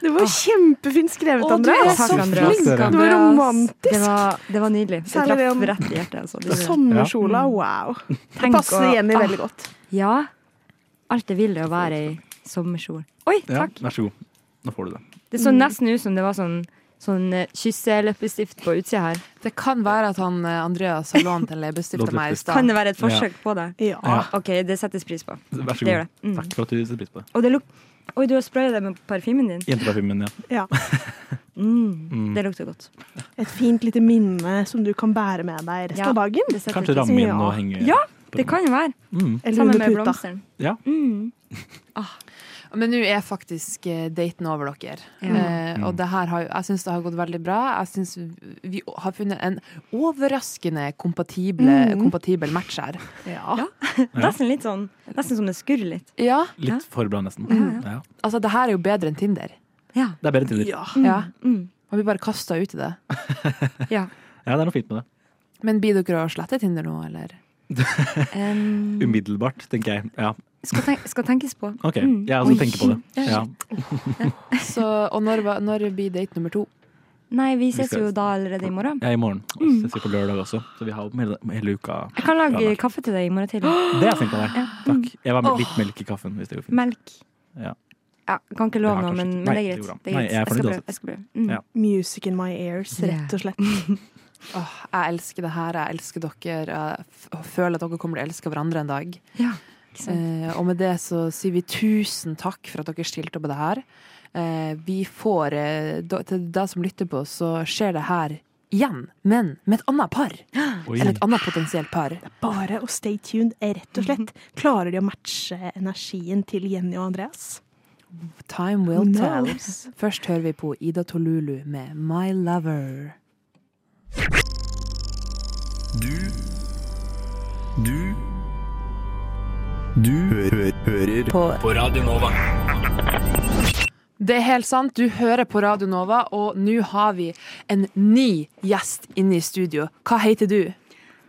Det var kjempefint skrevet, Å, du Andreas. er så Takk, Andreas. flink! Det var romantisk. Det var, det var nydelig. Det Særlig traff den- rett i hjertet. Altså. Det sånn- gjorde det. Sommersola, wow. Det Tenk passer å- Jenny ah. veldig godt. Ja. Alt jeg vil, er å være i sommersol. Oi, Ja, takk! vær så god. Nå får du det. Det så nesten ut som det var sånn, sånn eh, kysseleppestift på utsida her. Det kan være at han, eh, Andreas har lånt en leppestift av meg i Kan stad. det være et forsøk på det? Ja. Ja. OK, det settes pris på. Vær så Det god. gjør det. Mm. Takk for at du setter pris på det. Og det luk Oi, du har spraya det med parfymen din. Jenteparfymen, ja. ja. Mm. Det lukter godt. Et fint lite minne som du kan bære med deg resten Ja. av dagen. Det setter Kanskje pris- ramme inn Ja. og Mm. henge Ja, det kan jo være. Eller Sammen med under puta. blomsteren. Ja. Men nå er faktisk eh, daten over dere. Ja. Eh, og det her har, jo- jeg syns det har gått veldig bra. Jeg syns vi har funnet en overraskende kompatible, kompatibel match her. Ja. Nesten litt sånn Nesten som det skurrer litt. Ja, Litt for bra, nesten. Ja. altså det her er jo bedre enn Tinder. Ja. Det er bedre enn Tinder. Ja. Ja. Man blir bare kasta ut i det. ja. det er noe fint med det. Men blir dere å slette Tinder nå, eller? Em, Umiddelbart, tenker jeg. Ja, skal, tenk skal tenkes på. Um. OK. altså, Mm. Jeg også Oi. tenker på det. Ja. Så, og når, var- når blir date nummer to? Nei, vi ses skal- jo da allerede i morgen. Jeg er i morgen. Og så ses vi på lørdag også. Så vi har hele, hele uka. Mm. Jeg kan lage Ja, kaffe til deg i morgen tidlig. Det er fint av deg. Takk. Jeg var med litt melk i kaffen, hvis det går fint. Melk. Ja. Ja, kan ikke Det love har noe, kanskje men, ikke- men det Nei, er det går bra. greit. Det er Nei, greit. jeg er skal fornøyd altså. prøve. Jeg skal prøve. Mm. Ja. Music in my ears, rett og slett. Åh, jeg elsker det her, jeg elsker dere. Jeg f- føler at dere kommer til å elske hverandre en dag. Ja, ikke sant? Eh, og med det så sier vi tusen takk for at dere stilte opp på det her. Eh, vi får, eh, da- til deg som lytter på, så skjer det her igjen, men med et annet par. Oi. Eller et annet potensielt par. Bare å stay tuned, rett og slett. Klarer de å matche energien til Jenny og Andreas? Time will tell. knows? Først hører vi på Ida Tolulu med My Lover. Du Du Du hø hø hører på. Radio Nova. Det er helt sant. Du hører på Radio Nova, og nå har vi en ny gjest inne i studio. Hva heter du?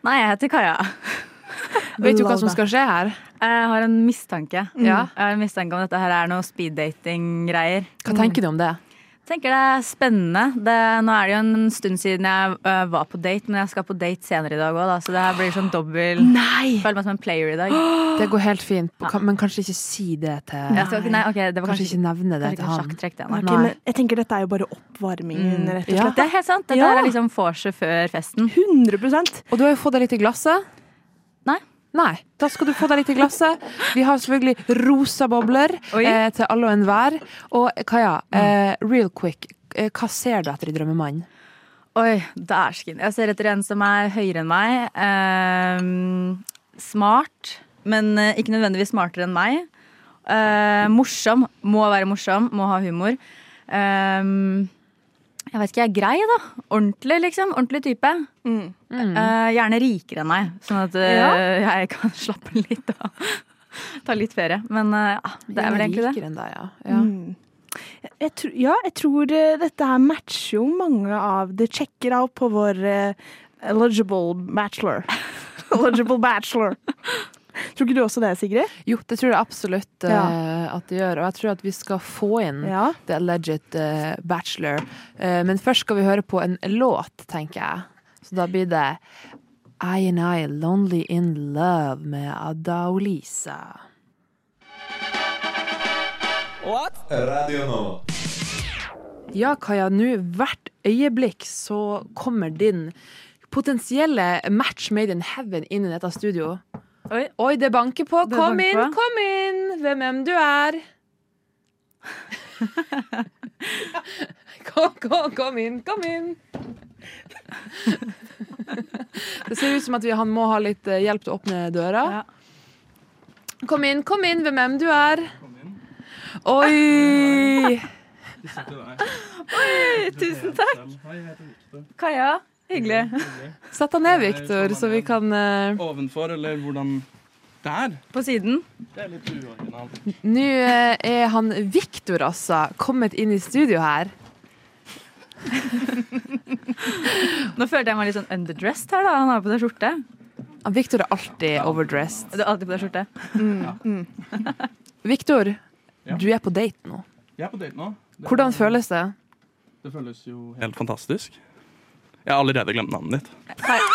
Nei, jeg heter Kaja. Mm. Vet du hva som skal skje her? Jeg har en mistanke. Mm. Ja. Jeg har en mistanke om dette her er noe speeddating-greier. Hva tenker du om det? Tenker det er spennende. Det, nå er det jo en stund siden jeg øh, var på date, men jeg skal på date senere i dag òg, da, så det her blir sånn dobbel Nei! Føler meg som en player i dag. Det går helt fint, kan- men kanskje ikke si det til Jeg skal, ikke- nei, ok, det var Kanskje ikke nevne kanskje det til ikke han. sjakktrekk, det. Ok, Nei. men jeg tenker dette er jo bare oppvarmingen, rett og Ja. slett. Det er helt sant. Dette Ja. her er liksom vorset før festen. 100 Og du har jo fått deg litt i glasset. Nei. Nei, Da skal du få deg litt i glasset. Vi har selvfølgelig rosa bobler Oi. Mm. eh, til alle og enhver. Og Kaja, eh, real quick, eh, hva ser du etter i Drømmemannen? Oi, dæsken. Jeg ser etter en som er høyere enn meg. ehm, smart, men eh, ikke nødvendigvis smartere enn meg. Eh, morsom. Må være morsom. Må ha humor. Ehm, jeg vet ikke, jeg er grei, da. Ordentlig, liksom. Ordentlig type. Mm. Eh, gjerne rikere enn meg, sånn at eh, jeg kan slappe litt av. Ta litt ferie. Men eh, ah, det er vel egentlig det. Mm. Rikere enn deg, ja. ja. Mm. Jeg tr ja, jeg tror eh, dette her matcher jo mange av Det sjekker av på vår eh, eligible bachelor. eligible bachelor. Tror ikke du også det, Sigrid? Jo, det tror jeg absolutt eh, Ja. at det gjør. Og jeg tror at vi skal få inn Ja. The Alleged eh, Bachelor. Eh, men først skal vi høre på en låt, tenker jeg. Så da blir det I and I, Lonely in Love med Ada Olisa. What? Radio Nova. Ja, Kaja, nå hvert øyeblikk så kommer din potensielle match made in heaven inn i dette studio. Oi, det banker på. Det kom banker inn, på. kom inn! Hvem enn du er. kom, kom, kom inn, kom inn. Det ser ut som at vi, han må ha litt eh, hjelp til å åpne døra. Kom inn, kom inn, hvem enn du er. Oi! Oi, tusen takk. Kaja, hyggelig. Sett deg ned, Viktor, så vi kan eh, Ovenfor, eller hvordan Der! På siden. Det er litt uoriginalt. Nå eh, er han Viktor, altså, kommet inn i studio her. Nå følte jeg meg litt sånn underdressed her, da. Han har på seg skjorte. Ah, Viktor er alltid overdressed. Du har alltid på deg skjorte. Viktor, Ja. du er på date nå. Jeg er på date nå. Det- Hvordan føles det? Det føles jo helt fantastisk. Jeg har allerede glemt navnet ditt. Kaja.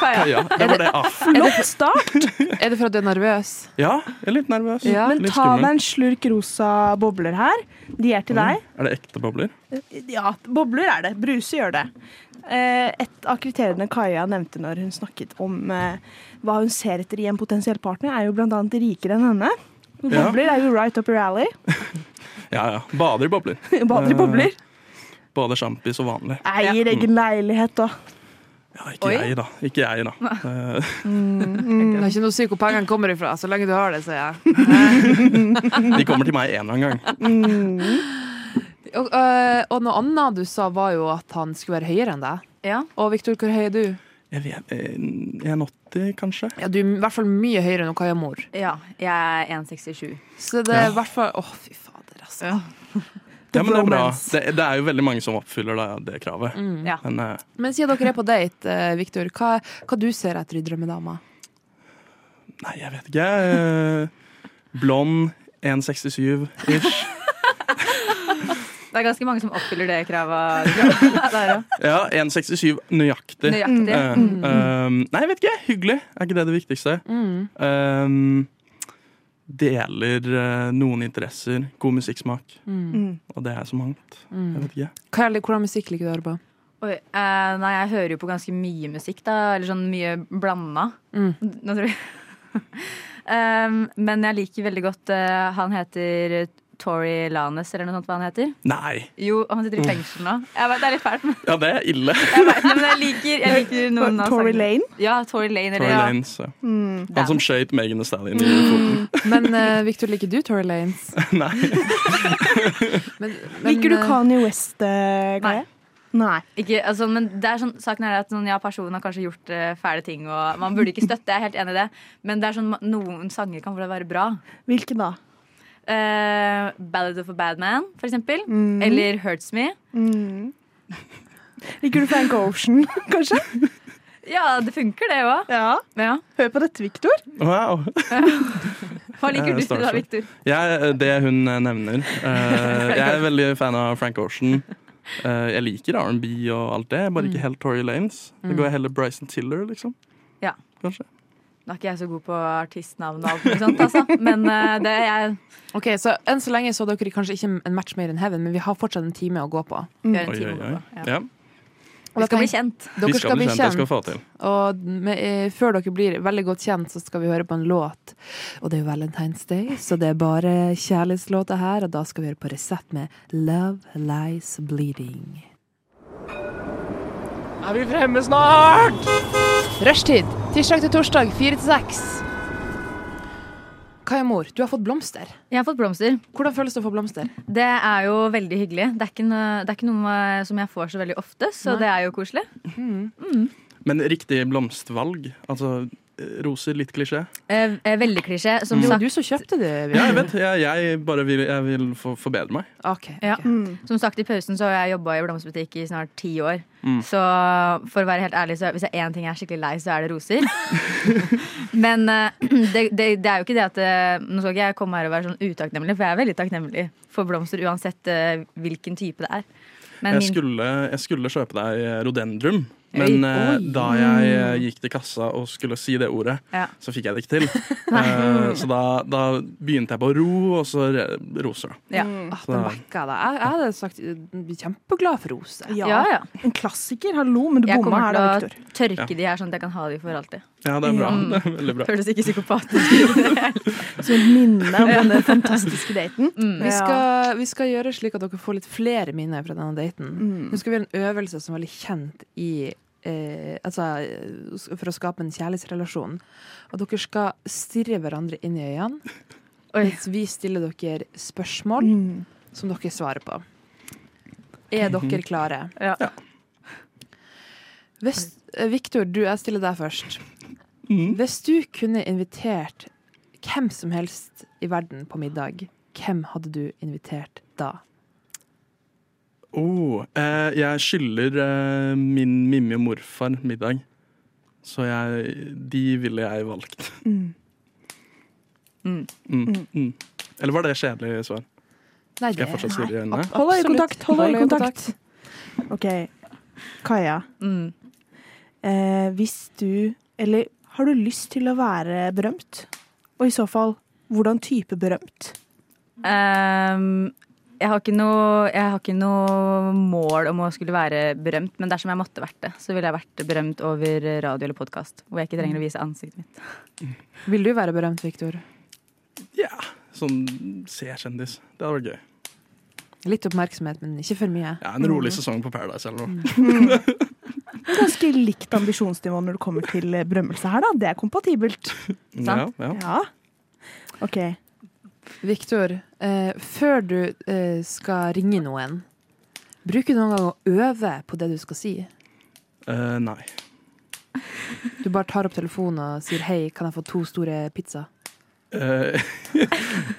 Kaja. Det var det. Ah. Flott start! Er det for at du er nervøs? Ja, jeg er litt nervøs. Ja. Men Litt ta skummel. deg en slurk rosa bobler her. De er til deg. Er det ekte bobler? Ja, bobler er det. Bruse gjør det. Eh, Et av kriteriene Kaja nevnte når hun snakket om eh, hva hun ser etter i en potensiell partner, er jo bl.a. rikere enn henne. Ja. Bobler er jo right up your alley. Ja, ja. Bader i bobler. Bader i bobler. Eh, Både sjampis og vanlig. Eier egen leilighet, da. Ikke jeg, da. Ikke jeg, da. Eh, Det er ikke noe å si hvor pengene kommer ifra, så lenge du har det, sier jeg. De kommer til meg en eller annen gang. Og, øh, og noe annet du sa, var jo at han skulle være høyere enn deg. Og Viktor, hvor høy er du? Jeg vet, eh, 1,80 kanskje? Ja, Du er i hvert fall mye høyere enn Kaja Mor. Ja, jeg er 1,67. Så det er i Ja. hvert fall Å, fy fader, altså. Ja, men det er bra. bromance. Det, det er jo veldig mange som oppfyller da, det kravet. Mm. Men eh, Men siden dere er på date, eh, Viktor, hva, hva du ser etter i drømmedama? nei, jeg vet ikke. Eh, Blond, 1,67-ish. Det er ganske mange som oppfyller det kravet. Der, ja. Ja, 1,67 nøyaktig. Nøyaktig. Eh, Mm. eh, nei, jeg vet ikke. Hyggelig. Er ikke det det viktigste? Mm. Eh, deler eh, noen interesser. God musikksmak. Mm. Og det er så mangt. Mm. Jeg vet ikke. Hva er- Hvordan musikk liker du å høre på? Oi, eh, nei, jeg hører jo på ganske mye musikk, da. Eller sånn mye blanda. Mm. Nå tror jeg. um, men jeg liker veldig godt eh, Han heter Tori Lanes, eller noe sånt hva han heter. Nei! Jo, han sitter i fengsel nå. Jeg vet, det er litt fælt, men Ja, det er ille. jeg, vet, det, men jeg liker, jeg liker noen av Tory sangene. Lane? Ja, Tori Lane. Tory Eller, ja. Lanez. ja. Mm. Han som skjøt Megan Thee Stallion i foten. Men eh, Victor, liker du Tory Lanes? Nei. Men, Liker du eh, Kanye West, eh, Kaja? Nei. Ikke, altså, men det er sånn, saken er at sånn, ja, personen har kanskje gjort eh, fæle ting, og man burde ikke støtte. Jeg er helt enig i det. Men det er sånn, ma- noen sanger kan vel være bra. Hvilken da? Eh, 'Ballad of a Bad Man', for eksempel. Mm. Eller 'Hurts Me'. Mm. Liker du Frank Ocean, kanskje? Ja, det funker, det òg. Ja. Hør på dette, Viktor. Wow. Hva liker Jeg du til da, starstruck. Victor? Jeg, det hun eh, nevner. Eh, jeg er veldig fan av Frank Ocean. Eh, jeg liker R&B og alt det, bare ikke helt Tory Lanes. Da går jeg heller Bryson Tiller, liksom. Ja. Kanskje. Nå er ikke jeg så god på artistnavn og alt mulig sånt, altså. Men eh, det er jeg. Ok, så Enn så lenge så dere kanskje ikke en match made in heaven, men vi har fortsatt en time å gå på. Vi har en time å gå på. Ja. Ja. Vi skal bli kjent. Dere Vi skal bli kjent. Det skal vi få til. Og med, eh, før dere blir veldig godt kjent, så skal vi høre på en låt. Og det er jo Valentine's Day, så det er bare kjærlighetslåter her. Og da skal vi høre på Resept med Love Lies Bleeding. Er vi fremme snart? Rushtid. Tirsdag til torsdag, fire til seks. Kaja Mor, du har fått blomster. Jeg har fått blomster. Hvordan føles det å få blomster? Det er jo veldig hyggelig. Det er ikke noe, det er ikke noe eh, som jeg får så veldig ofte, så Nei. det er jo koselig. Men riktig blomstvalg. Altså eh, roser, litt klisjé. Eh, eh, veldig klisjé. Som Det var sagt, du som kjøpte det. Ja, jeg vet. Jeg, jeg bare vil, jeg vil for, forbedre meg. Ja. Som sagt i pausen så har jeg jobba i blomsterbutikk i snart ti år. Mm. Så for å være helt ærlig, så hvis det er én ting jeg er skikkelig lei, så er det roser. Men eh, det, det, det er jo ikke det at eh, Nå skal ikke jeg komme her og være sånn utakknemlig, for jeg er veldig takknemlig for blomster uansett eh, hvilken type det er. Men Jeg min, skulle, jeg skulle kjøpe deg rodendrum. eh, Men eh, Oi. da jeg eh, gikk til kassa og skulle si det ordet, Ja. så fikk jeg det ikke til. Eh, så da, da begynte jeg på å ro, og så re- roser jeg. Ja. Mm. Ah, Så den da- backa deg. Jeg, jeg hadde sagt eh, kjempeglad for rose. Ja. En klassiker. Hallo, men du Jeg bomma kommer her, da, til Victor. å tørke Ja. de her, sånn at jeg kan ha de for alltid. Ja, det er bra. Mm. Det er veldig bra. Føles ikke psykopatisk ut. i det hele tatt. Så et minne om denne fantastiske daten. Mm, Vi skal, vi skal gjøre slik at dere får litt flere minner fra denne daten. Mm. Nå skal vi gjøre en øvelse som er veldig kjent i eh, Altså eh, for å skape en kjærlighetsrelasjon. Og dere skal stirre hverandre inn i øynene mens vi stiller dere spørsmål som dere svarer på. Er dere Mhm. klare? Ja. Hvis, eh, Victor, du, jeg stiller deg først. Hvis du kunne invitert hvem som helst i verden på middag, hvem hadde du invitert da? Oh, eh, jeg skylder eh, min Mimmi og morfar middag, så jeg, de ville jeg valgt. Mm. Mm. Eller var det kjedelig svar? Nei, Skal jeg det- fortsatt stirre i nei, øynene? ab- Hold øye Absolutt. kontakt, hold øye Hold øye kontakt. OK. Kaja. mm. Eh, hvis du Eller har du lyst til å være berømt? Og i så fall, hvordan type berømt? Ehm, jeg, har ikke noe, jeg har ikke noe mål om å skulle være berømt, men dersom jeg måtte vært det, så ville jeg vært berømt over radio eller podkast, hvor jeg ikke trenger å vise ansiktet mitt. Vil du være berømt, Victor? Sånn C-kjendis. Det hadde vært gøy. Litt oppmerksomhet, men ikke for mye. Ja, en rolig sesong på Paradise eller noe. Ganske likt ambisjonsnivå når det kommer til eh, berømmelse her, da. Det er kompatibelt. Ja, ja. Ja. OK. Victor, eh, før du eh, skal ringe noen, bruker du noen gang å øve på det du skal si? Eh, nei. Du bare tar opp telefonen og sier 'hei, kan jeg få to store pizza'? Eh,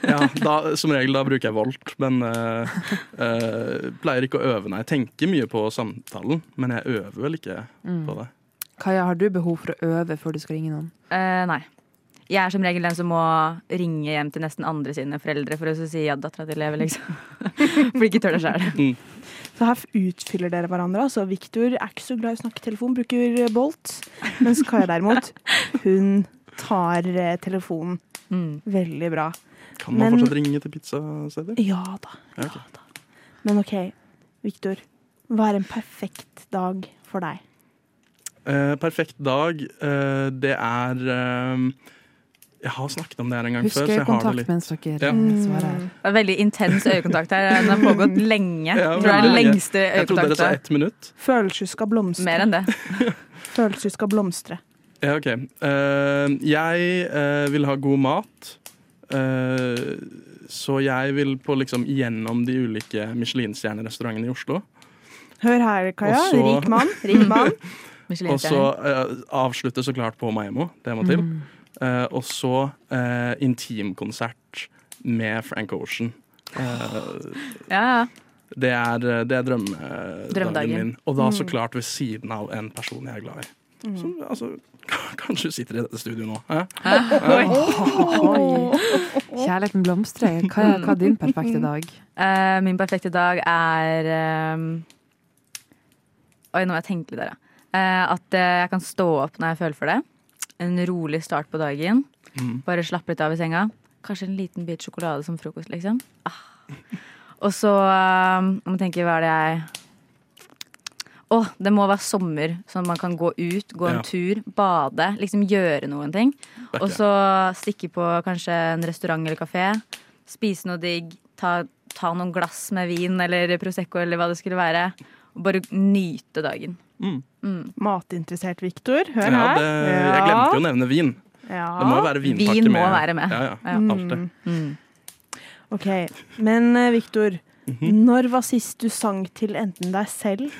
ja, da, som regel da bruker jeg volt, men eh, eh, pleier ikke å øve. Nei, jeg tenker mye på samtalen, men jeg øver vel ikke Mm. på det. Kaja, har du behov for å øve før du skal ringe noen? Eh, nei. Jeg er som regel den som må ringe hjem til nesten andre sine foreldre for å så si ja, dattera di lever, liksom. For de ikke tør det sjøl. Så her utfyller dere hverandre. Altså, Victor er ikke så glad i å snakke i telefon, bruker eh, Bolt. Mens Kaja derimot, hun tar eh, telefonen. Mm. Veldig bra. Kan man Men- fortsatt ringe til pizzasteder? Ja da. Ja, ok. Men OK, Victor. Hva er en perfekt dag for deg? Eh, perfekt dag, eh, det er eh, Jeg har snakket om det her en gang Husk før. så jeg har det øyekontakt litt- mens dere Mm. Ja. svarer. Det er veldig intens øyekontakt her. Den har pågått lenge. Ja, jeg tror det er den veldig lenge. lengste Jeg trodde dere sa øyekontakten. ett minutt. Følelser skal blomstre. Mer enn det. Følelser skal blomstre. Ja, ok. Eh, jeg eh, vil ha god mat, eh, så jeg vil på liksom gjennom de ulike Michelin-stjernerestaurantene i Oslo. Hør her, Kaja. Og så- Rik mann. Rik mann. Og så eh, avslutte så klart på Maimo. Det må til. Mm. Eh, og så eh, intimkonsert med Frank Ocean. Eh, Ja, ja. Det er, det er drømmedagen Drømmedagen. min. Og da så Mm. klart ved siden av en person jeg er glad i. Mm. Som altså, kanskje sitter i dette studioet nå. Hæ? Hæ? Mm. Oi. Kjærligheten blomstrer. Kaja, hva er din perfekte dag? Eh, min perfekte dag er ehm, Oi, nå må jeg tenke litt der, ja. Eh, at eh, jeg kan stå opp når jeg føler for det. En rolig start på dagen. Mm. Bare slappe litt av i senga. Kanskje en liten bit sjokolade som frokost, liksom. Ah. Og så ehm, jeg må tenke hva er det jeg Å, det må være sommer, sånn at man kan gå ut, gå en Ja. tur, bade. Liksom gjøre noen ting. Backer. Og så stikke på kanskje en restaurant eller kafé. Spise noe digg. Ta, ta noen glass med vin eller Prosecco eller hva det skulle være. Og bare nyte dagen. Mm. Matinteressert Victor. Hør Ja, her. det, jeg glemte jo å nevne vin. Ja. Det må jo være vinpakke Vin må med. være med. Ja, ja. Ja. Mm. Alltid. OK. Men eh, Victor, Mhm. når var sist du sang til enten deg selv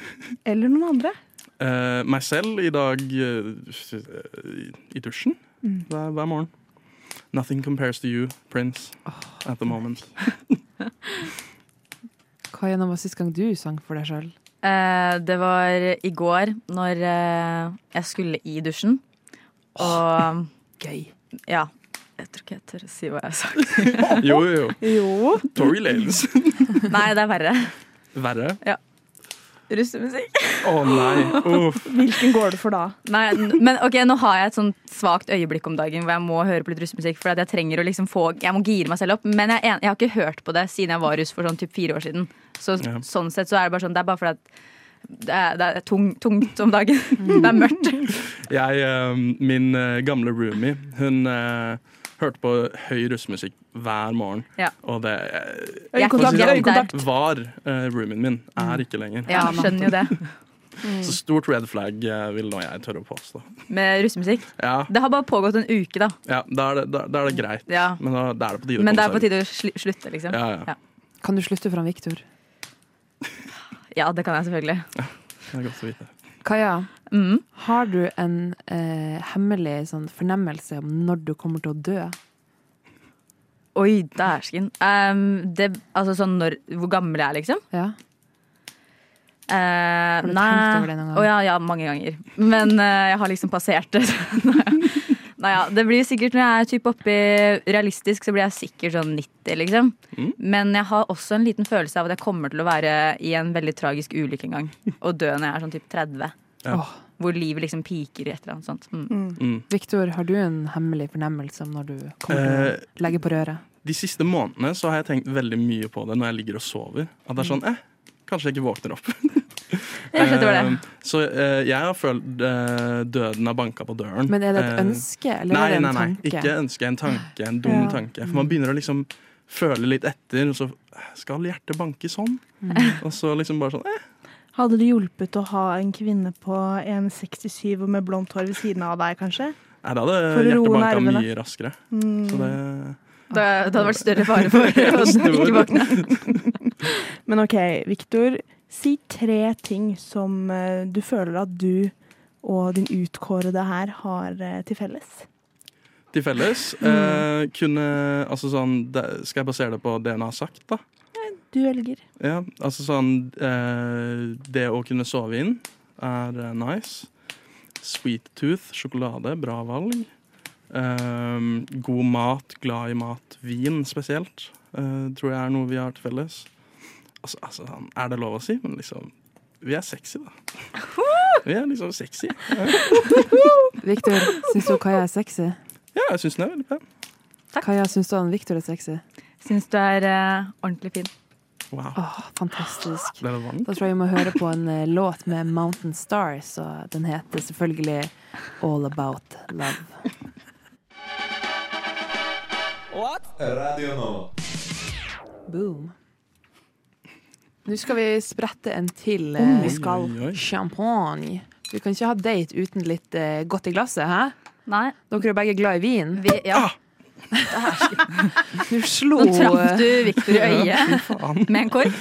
eller noen andre? Eh, meg selv i dag eh, i dusjen Mm. hver, hver morgen. Nothing compares to you, Prince, at the moment. Kaja, når var sist gang du sang for deg sjøl? Eh, det var i går, når eh, jeg skulle i dusjen. Og Gøy. Ja. Jeg tror ikke jeg tør å si hva jeg har sagt. Jo, jo, jo. Jo. Tory Lales. Nei, det er verre. Verre. Ja. Russemusikk. Å nei. Uff. Hvilken går det for da? Nei, n- men ok, nå har jeg et sånt svakt øyeblikk om dagen hvor jeg må høre på litt russemusikk. For at jeg trenger å liksom få Jeg må gire meg selv opp. Men jeg, er en- jeg har ikke hørt på det siden jeg var russ for sånn typ fire år siden. Så Ja. sånn sett så er det bare sånn Det er bare fordi at det er, det er tung, tungt om dagen. Det er mørkt. Jeg, eh, min eh, gamle roomie, hun eh, hørte på høy russemusikk hver morgen. Ja. Og det eh, Jeg er for å si det ikke sånn, der. Var eh, roomien min. Mm. Er ikke lenger. Ja, man skjønner jo det. Så stort red flag eh, vil nå jeg tørre å påstå. Med russemusikk. Ja, Det har bare pågått en uke, da. ja da, er det, da, da er det greit. Ja. Men da, da er det på tide å Men det er komme seg på ut. tide å sli- slutte, liksom. Ja, ja. Ja. Kan du slutte fra Victor? ja, det kan jeg selvfølgelig. Det er godt å vite. Kaja, Mm. har du en eh, hemmelig sånn, fornemmelse om når du kommer til å dø? Oi, dæsken. Um, det, altså sånn når, hvor gammel jeg er, liksom? Ja. Eh, du tenkt nei. over det noen gang? Å ja, ja, mange ganger. Men eh, jeg har liksom passert det. nei ja, det blir sikkert når jeg er typ oppi realistisk, så blir jeg sikkert sånn 90, liksom. Mm. Men jeg har også en liten følelse av at jeg kommer til å være i en veldig tragisk ulykke en gang. Og dø når jeg er sånn typ 30. Ja. Åh. Hvor livet liksom piker i et eller annet sånt. Mm. Mm. Victor, har du en hemmelig fornemmelse om når du kommer Eh, til å legge på røret? De siste månedene så har jeg tenkt veldig mye på det når jeg ligger og sover. At det er sånn, eh, kanskje jeg ikke våkner opp. Jeg skjønte hva det Eh, Så eh, jeg har følt eh, døden har banka på døren. Men er det et Eh, ønske, eller nei, er det en nei, nei, tanke? Ikke ønske, en tanke, en dum Ja. tanke. For man begynner å liksom føle litt etter, og så eh, skal hjertet banke sånn? Mm. Og så liksom bare sånn eh. Hadde det hjulpet å ha en kvinne på 1,67 og med blondt hår ved siden av deg, kanskje? Nei, da hadde For å hjertet roe banka nervene. mye raskere. Mm. Så det Det, det hadde vært større fare for å ikke våkne. Men OK, Viktor. Si tre ting som eh, du føler at du og din utkårede her har eh, til felles. til felles Mm. eh, kunne Altså sånn det, Skal jeg basere det på det hun har sagt, da? Du velger. Ja, altså sånn eh, Det å kunne sove inn er eh, nice. Sweet tooth, sjokolade, bra valg. Ehm, god mat, glad i mat, vin spesielt, eh, tror jeg er noe vi har til felles. Altså, altså, sånn, er det lov å si? Men liksom, vi er sexy, da. Vi er liksom sexy. Ja, Victor, syns du Kaja er sexy? ja jeg syns den er veldig pen. Kaja, syns du han Victor er sexy? Syns du er eh, ordentlig fin. Wow. Åh, fantastisk. Ble det varmt? Da tror jeg vi må høre på en eh, låt med Mountain Stars, og den heter selvfølgelig All About Love. Radio Nova. Boom. Nå skal vi sprette en til Om vi eh, skal. Oi, oi. champagne. Du kan ikke ha date uten litt eh, godt i glasset, hæ? Nei, Dere er jo begge glad i vin. vi, Ah! ja. Du slo eh, Nå traff du Victor i øyet Faen. med en kork.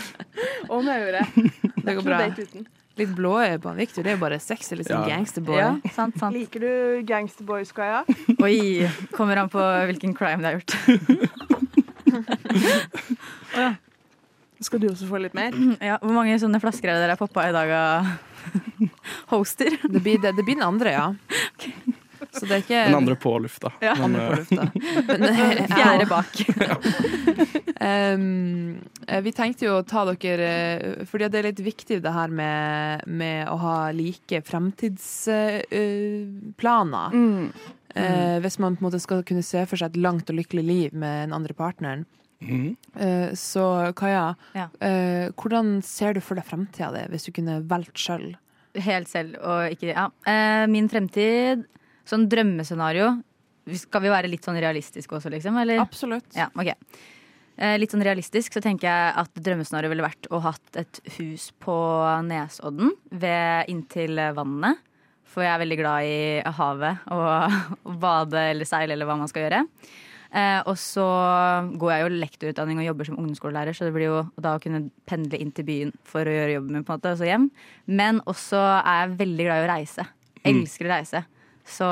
Om jeg gjorde Det går bra. Litt blåøye på han Victor. Det er jo bare sexy. Litt sånn Ja. gangsterboy. Ja, sant, sant. Liker du Gangsterboys, Kaja? Oi, kommer an på hvilken crime det er gjort. Skal du også få litt mer? Ja, hvor mange sånne flasker er det dere har poppa i dag av hoster? Det, blir, det, det blir den andre, ja. Så det er ikke Den andre på lufta. Ja. Men, andre på eh, lufta. Men, eh, Fjerde bak. Ehm, eh, vi tenkte jo å ta dere eh, Fordi at det er litt viktig det her med, med å ha like fremtidsplaner. Mm. Eh, hvis man på en måte skal kunne se for seg et langt og lykkelig liv med den andre partneren. Mhm. Eh, så Kaja, Ja. eh, hvordan ser du for deg fremtida di, hvis du kunne valgt sjøl? Helt selv og ikke Ja. Eh, Min fremtid, sånn drømmescenario Skal vi være litt sånn realistiske også, liksom? Eller? Absolutt. Ja, ok. Eh, Litt sånn realistisk så tenker jeg at drømmescenarioet ville vært å hatt et hus på Nesodden, ved, inntil vannet. For jeg er veldig glad i havet og å bade eller seile eller hva man skal gjøre. Eh, og så går jeg jo lektorutdanning og jobber som ungdomsskolelærer, så det blir jo da å kunne pendle inn til byen for å gjøre jobben min, på en måte, og så hjem. Men også er jeg veldig glad i å reise. Elsker å reise. Så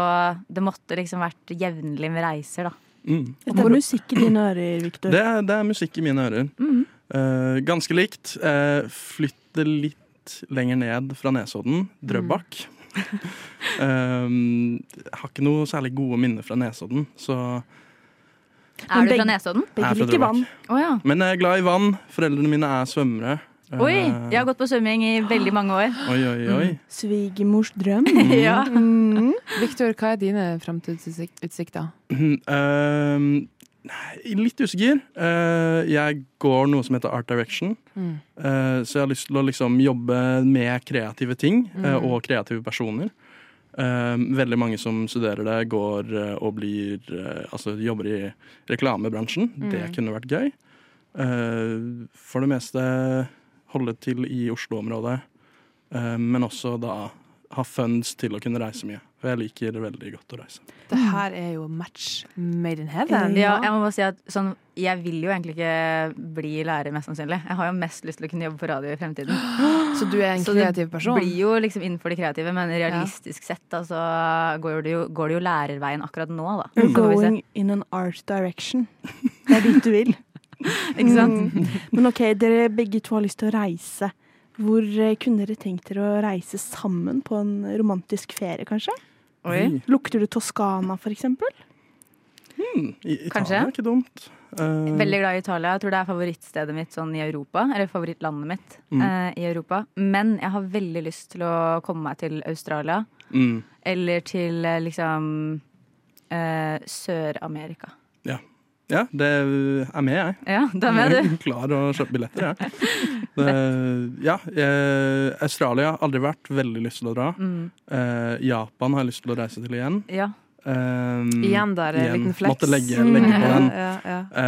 det måtte liksom vært jevnlig med reiser, da. mm. Dette er musikk i dine ører, Viktor. Det er, det er musikk i mine ører. Eh, ganske likt. Eh, flytte litt lenger ned fra Nesodden. Drøbak. Eh, har ikke noe særlig gode minner fra Nesodden, så Er du begge- fra Nesodden? Jeg er Begge fra liker Drøbak. vann. Å ja. Men jeg er glad i vann. Foreldrene mine er svømmere. Eh, Oi! Jeg har gått på svømming i veldig mange år. Oi, oi, oi. Svigermors drøm. ja. Victor, hva er dine framtidsutsikter? Ehm, nei, litt usikker. Eh, jeg går noe som heter Art Direction. Mm. Eh, så jeg har lyst til å liksom jobbe med kreative ting eh, Mm. og kreative personer. Eh, veldig mange som studerer det, går eh, og blir eh, Altså jobber i reklamebransjen. Mm. Det kunne vært gøy. Eh, for det meste holde til i Oslo-området, eh, men også da ha funds til å kunne reise mye. For jeg liker veldig godt å reise. Det her er jo match made in heaven. Ja, jeg må bare si at sånn, jeg vil jo egentlig ikke bli lærer, mest sannsynlig. Jeg har jo mest lyst til å kunne jobbe på radio i fremtiden. Ah, Så du er en Så kreativ sånn. person? Det blir jo liksom innenfor det kreative, men realistisk sett da, så går det, jo, går det jo lærerveien akkurat nå, da. Mm. You're Så får vi Mm. se. going in an art direction. Det er dit du vil. Ikke sant? Mm. Men ok, dere begge to har lyst til å reise. Hvor eh, kunne dere tenkt dere å reise sammen på en romantisk ferie, kanskje? Oi. Lukter du Toskana, for eksempel? Hmm, I Italia Kanskje. er ikke dumt. Eh, Veldig glad i Italia. Jeg tror det er favorittstedet mitt sånn i Europa. Eller favorittlandet mitt Mm. eh, i Europa. Men jeg har veldig lyst til å komme meg til Australia. Mm, Eller til eh, liksom eh, Sør-Amerika. ja. ja, det er med, jeg. Ja, da er med Jeg du. er klar å kjøpe billetter, jeg. Det, ja, eh, Australia har aldri vært veldig lyst til å dra. Mm. Eh, Japan har jeg lyst til å reise til igjen. Ja. Um, Igjen der, en liten flex. Måtte legge, Mm. legge på den. Ja, ja,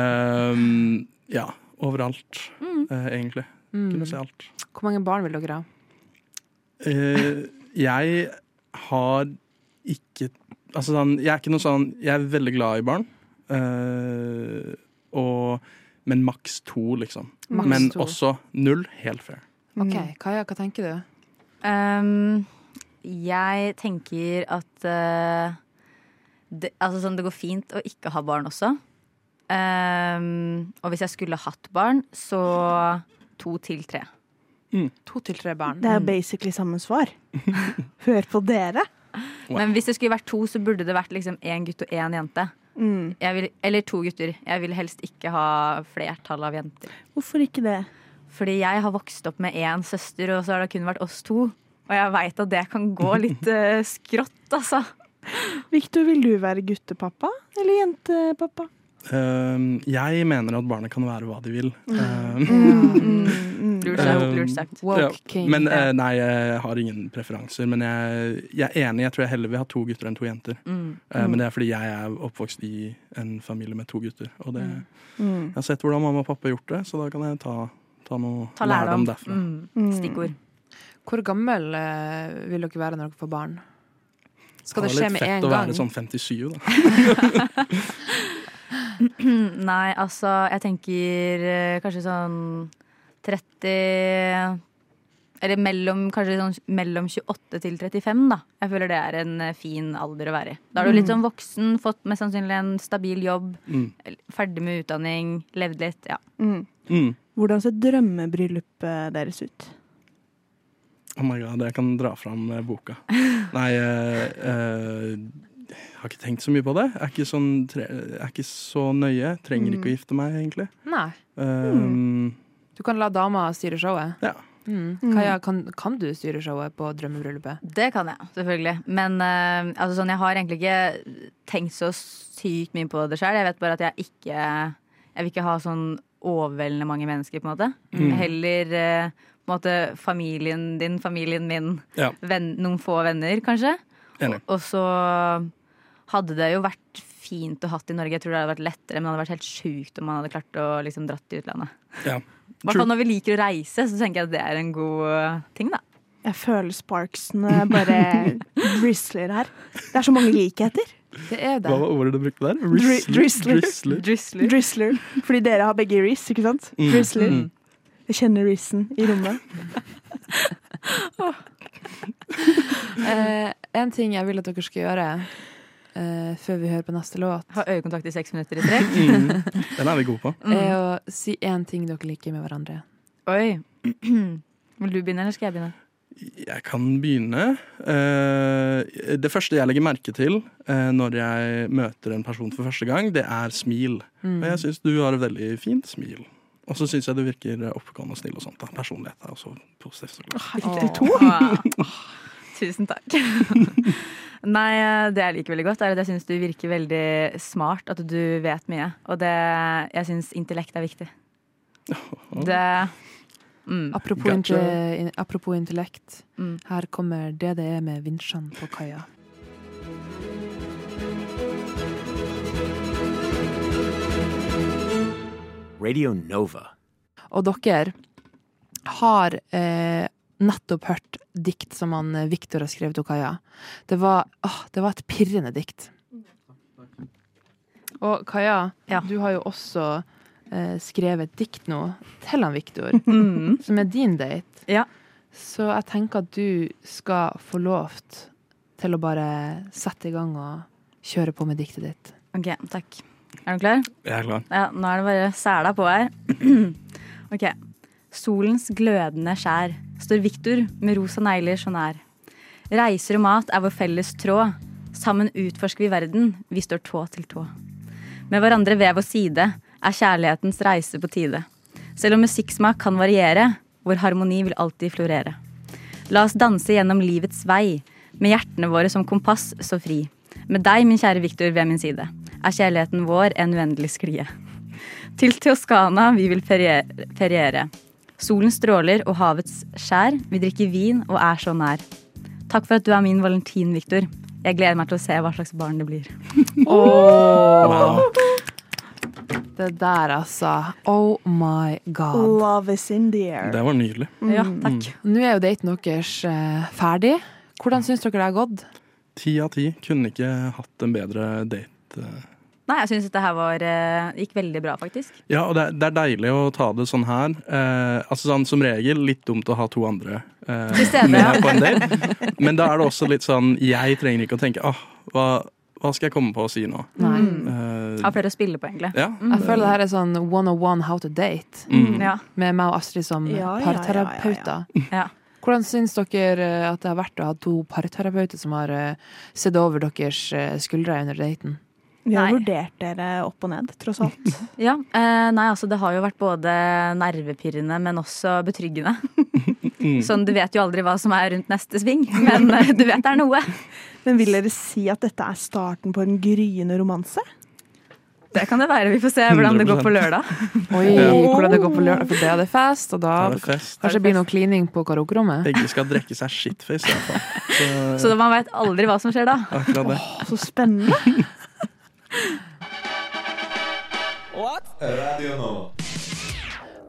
Um, ja, overalt, eh, egentlig. Mm. Kunne se alt. Hvor mange barn vil dere ha? Eh, jeg har ikke Altså sånn, jeg er ikke noe sånn Jeg er veldig glad i barn. eh, og Men maks to, liksom. Maks men to. også null. Helt fair. Ok, Kaja, hva tenker du? Um, jeg tenker at eh, det, altså sånn, det går fint å ikke ha barn også. Um, og hvis jeg skulle hatt barn, så to til tre. To til tre barn. Det Mm. er jo basically samme svar. Hør på dere. Men hvis det skulle vært to, så burde det vært liksom én gutt og én jente. Mm. Jeg vil, eller to gutter. Jeg vil helst ikke ha flertall av jenter. Hvorfor ikke det? Fordi jeg har vokst opp med én søster, og så har det kun vært oss to. Og jeg veit at det kan gå litt eh, skrått, altså. Victor, vil du være guttepappa eller jentepappa? Um, jeg mener at barnet kan være hva de vil. Um, Lurt sagt, lurt sagt. Woke king. Men eh, nei, jeg har ingen preferanser. Men jeg, jeg er enig, jeg tror jeg heller vil ha to gutter enn to jenter. Mm. Eh, men det er fordi jeg er oppvokst i en familie med to gutter. Og det, Mm. jeg har sett hvordan mamma og pappa har gjort det, så da kan jeg ta, ta noe Ta lærdom. lærdom derfra. Mm. Stikkord. Hvor gammel eh, vil dere være når dere får barn? Skal det var skje litt med fett en å være gang? sånn 57, da. Nei, altså, jeg tenker eh, kanskje sånn 30 Eller mellom, kanskje sånn mellom 28 til 35, da. Jeg føler det er en eh, fin alder å være i. Da er du litt Mm. sånn voksen, fått mest sannsynlig en stabil jobb, Mm. ferdig med utdanning, levd litt. Ja. Mm. Hvordan ser drømmebryllupet deres ut? Oh my god, jeg kan dra fram eh, boka. Nei, eh, eh, jeg har ikke tenkt så mye på det. Jeg er ikke, sånn, tre, jeg er ikke så nøye. Trenger Mm. ikke å gifte meg, egentlig. Nei. Mm. Um, Du kan la dama styre showet. Ja. Mm. Kaja, kan, kan du styre showet på drømmebryllupet? Det kan jeg, selvfølgelig. Men eh, altså, sånn, jeg har egentlig ikke tenkt så sykt mye på det sjøl. Jeg vet bare at jeg ikke Jeg vil ikke ha sånn overveldende mange mennesker, på en måte. Mm. Heller eh, på en måte familien din, familien min, Ja. venn, noen få venner, kanskje. Enig. Og så hadde det jo vært fint å hatt i Norge. Jeg tror det hadde vært lettere, men det hadde vært helt sjukt om man hadde klart å liksom dratt til utlandet. ja. I hvert fall når vi liker å reise, så tenker jeg at det er en god eh, ting, da. Jeg føler sparksene bare drisler her. Det er så mange likheter. Det er Hva var ordet du brukte der? Dri- Drizzler. Drizzler. Drizzler. Fordi dere har begge Riz, ikke sant? Mm. Drizzler. Mm. Jeg kjenner Rizen i rommet. Eh, en ting jeg vil at dere skal gjøre eh, før vi hører på neste låt, Ha øyekontakt i seks minutter i strekk. Mm. Den er vi gode på. er å Eh, si én ting dere liker med hverandre. Oi. Vil du begynne, eller skal jeg begynne? Jeg kan begynne. Eh, det første jeg legger merke til eh, når jeg møter en person for første gang, det er smil. Mm. Og jeg syns du har et veldig fint smil. Og så syns jeg du virker eh, oppegående og snill og sånt. da. Personlighet er også positivt. så klart. Riktig to. Tusen takk. Nei, eh, det jeg liker veldig godt, er at jeg syns du virker veldig smart. At du vet mye. Og det, jeg syns intellekt er viktig. Det mm. Apropos, Gotcha. inte, in, apropos intellekt. Her kommer DDE med vinsjene på kaia. Radio Nova. Og dere har eh, nettopp hørt dikt som han eh, Victor har skrevet til Kaja. Det var, åh, det var et pirrende dikt. Og Kaja, du har jo også eh, skrevet dikt nå til han Victor, Mhm. som er din date. Ja. Så jeg tenker at du skal få lov til å bare sette i gang og kjøre på med diktet ditt. OK, takk. Er du klar? Jeg er klar. Ja, nå er det bare sæla på her. ok. Solens glødende skjær står Viktor med rosa negler så nær. Reiser og mat er vår felles tråd. Sammen utforsker vi verden. Vi står tå til tå. Med hverandre ved vår side er kjærlighetens reise på tide. Selv om musikksmak kan variere, vår harmoni vil alltid florere. La oss danse gjennom livets vei, med hjertene våre som kompass så fri. Med deg, min kjære Viktor, ved min side, er kjærligheten vår en uendelig sklie. Til Toskana vi vil ferie- feriere. Solen stråler og havets skjær, vi drikker vin og er så nær. Takk for at du er min valentin, Viktor. Jeg gleder meg til å se hva slags barn det blir. Det der, altså. Oh my god. Love is in the air. Det var nydelig. Ja, takk. Nå er jo daten deres eh, ferdig. Hvordan syns dere det har gått? Ti av ti. Kunne ikke hatt en bedre date. eh. Nei, jeg syns dette her var, eh, gikk veldig bra, faktisk. Ja, og det er, det er deilig å ta det sånn her. Eh, altså sånn, Som regel litt dumt å ha to andre eh, Til stede, med ja. på en date. Men da er det også litt sånn Jeg trenger ikke å tenke ah, hva, hva skal jeg komme på å si nå? Eh, Har flere å spille på, egentlig. Ja. Jeg føler det her er sånn 101 how to date, Mm. Ja. med meg og Astrid som Ja, ja, ja, parterapeuter. Ja. Hvordan syns dere eh, at det har vært å ha to parterapeuter som har eh, sett over deres eh, skuldre under daten? Vi har vurdert dere opp og ned, tross alt. Ja, eh, nei, altså Det har jo vært både nervepirrende, men også betryggende. Sånn, Du vet jo aldri hva som er rundt neste sving, men eh, du vet det er noe. Men vil dere si at dette er starten på en gryende romanse? Det kan det være. Vi får se hvordan det går på lørdag. Oi, Ja. hvordan det går på lørdag, for det er det fest, og da Da er det fest. kanskje det blir noe klining på karaokerommet. Begge skal drekke seg shitface, i hvert fall. Så da- man veit aldri hva som skjer da. Akkurat det. Så spennende.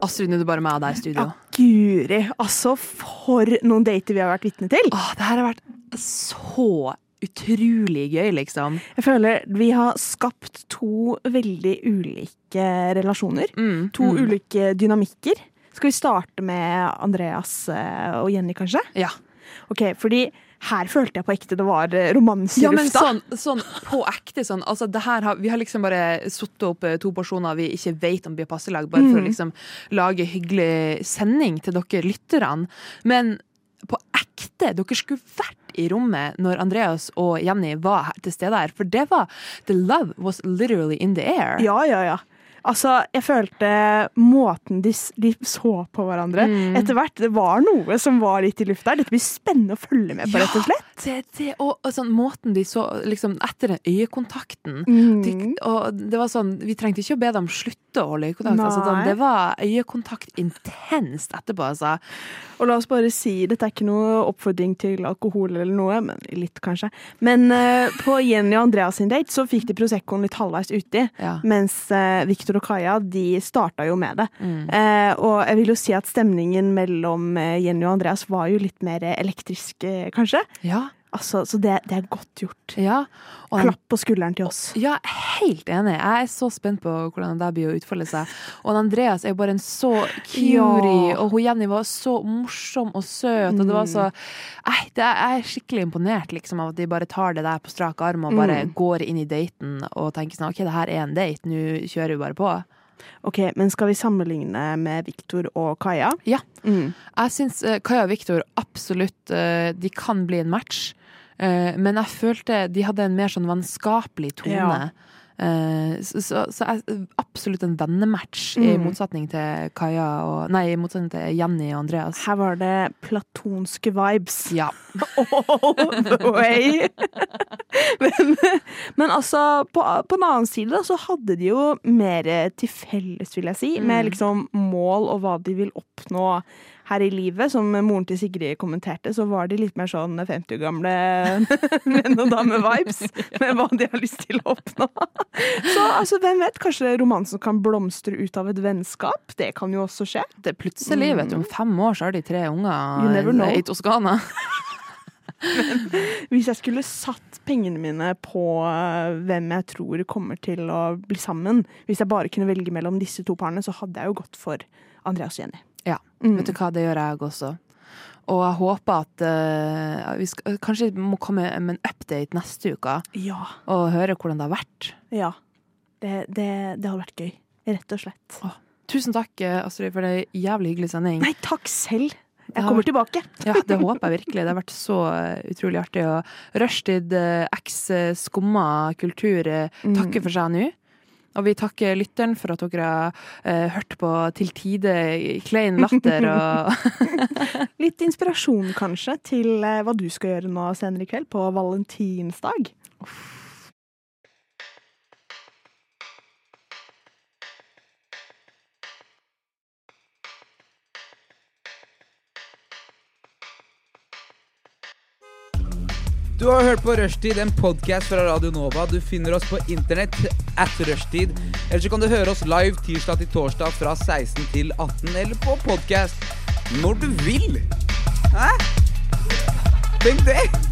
Astrid, nå er det bare meg og deg i studio. Guri, altså for noen dater vi har vært vitne til. Åh, det her har vært så utrolig gøy, liksom. Jeg føler vi har skapt to veldig ulike relasjoner. to mm. ulike dynamikker. Skal vi starte med Andreas eh, og Jenny, kanskje? Ja. Ok, fordi her følte jeg på ekte det var eh, romanse i Ja, men lufta. sånn, sånn på ekte sånn. Altså, det her har, vi har liksom bare satt opp eh, to personer vi ikke vet om blir passelag, bare for å Mm. liksom lage hyggelig sending til dere lytterne. Men på ekte, dere skulle vært i rommet når Andreas og Jenny var her, til stede her. For det var The love was literally in the air. Ja, ja, ja. Altså, jeg følte måten de, s- de så på hverandre Mm. etter hvert. Det var noe som var litt i lufta. her. Dette blir spennende å følge med på, Ja, rett og slett. Det, det, og, og sånn måten de så liksom, Etter den øyekontakten de, Mm. og det var sånn, Vi trengte ikke å be dem slutte å holde øyekontakt. Altså, sånn, Nei. det var øyekontakt intenst etterpå, altså. Og la oss bare si, dette er ikke noe oppfordring til alkohol eller noe, men litt kanskje. Men eh, på Jenny og Andreas sin date så fikk de Proseccoen litt halvveis uti, mens uh, Victor og Kaja de starta jo med det. Eh, og jeg vil jo si at stemningen mellom eh, Jenny og Andreas var jo litt mer eh, elektrisk, eh, kanskje. Ja. Altså, så det, det er godt gjort. Ja. Klapp på skulderen til oss. Ja, helt enig. Jeg er så spent på hvordan det der blir å utfolde seg. Og han Andreas er jo bare en så curie, Ja. Mm. og hun Jenny var så morsom og søt. Og det var så Nei, det er, Jeg er skikkelig imponert liksom, av at de bare tar det der på strak arm og bare Mm. går inn i daten og tenker sånn OK, det her er en date, nå kjører vi bare på. Ok, Men skal vi sammenligne med Victor og Kaja? Ja. Mm. Jeg syns eh, Kaja og Viktor absolutt eh, De kan bli en match. Eh, men jeg følte de hadde en mer sånn vennskapelig tone. Eh, Så, så, så jeg, absolutt en vennematch, i Mm. motsetning til Kaja og Nei, i motsetning til Jenny og Andreas. Her var det platonske vibes. Ja. All the way! men, men altså, på, på den annen side da, så hadde de jo mer eh, til felles, vil jeg si, med Mm. liksom mål og hva de vil oppnå her i livet. Som moren til Sigrid kommenterte, så var de litt mer sånn 50 år gamle menn og damer-vibes med hva de har lyst til å oppnå. så altså, hvem vet? Kanskje romansen kan blomstre ut av et vennskap? Det kan jo også skje. Det Plutselig, vet du, om fem år så har de tre Mm. You unger never know. i Toskana. Hvis jeg skulle satt pengene mine på eh, hvem jeg tror kommer til å bli sammen, hvis jeg bare kunne velge mellom disse to parene, så hadde jeg jo gått for Andreas og Jenny. Mm. Ja, vet du hva, det gjør jeg også. Og jeg håper at eh, vi skal, Kanskje vi må komme med en update neste uke Ja. og høre hvordan det har vært. Ja. Det, det, det hadde vært gøy. Rett og slett. Tusen takk, eh, Astrid, for ei jævlig hyggelig sending. Nei, takk selv. Det Jeg har kommer vært- tilbake. Ja, det håper jeg virkelig. Det har vært så eh, utrolig artig. Og Rushtid eh, X eh, Skumma kultur eh, takker for seg nå. Og vi takker lytteren for at dere har eh, hørt på til tide klein latter og Litt inspirasjon kanskje til eh, hva du skal gjøre nå senere i kveld, på valentinsdag. Du har hørt på Rushtid, en podkast fra Radio Nova. Du finner oss på internett at rushtid. Eller så kan du høre oss live tirsdag til torsdag fra 16 til 18, eller på podkast når du vil. Hæ? Tenk det!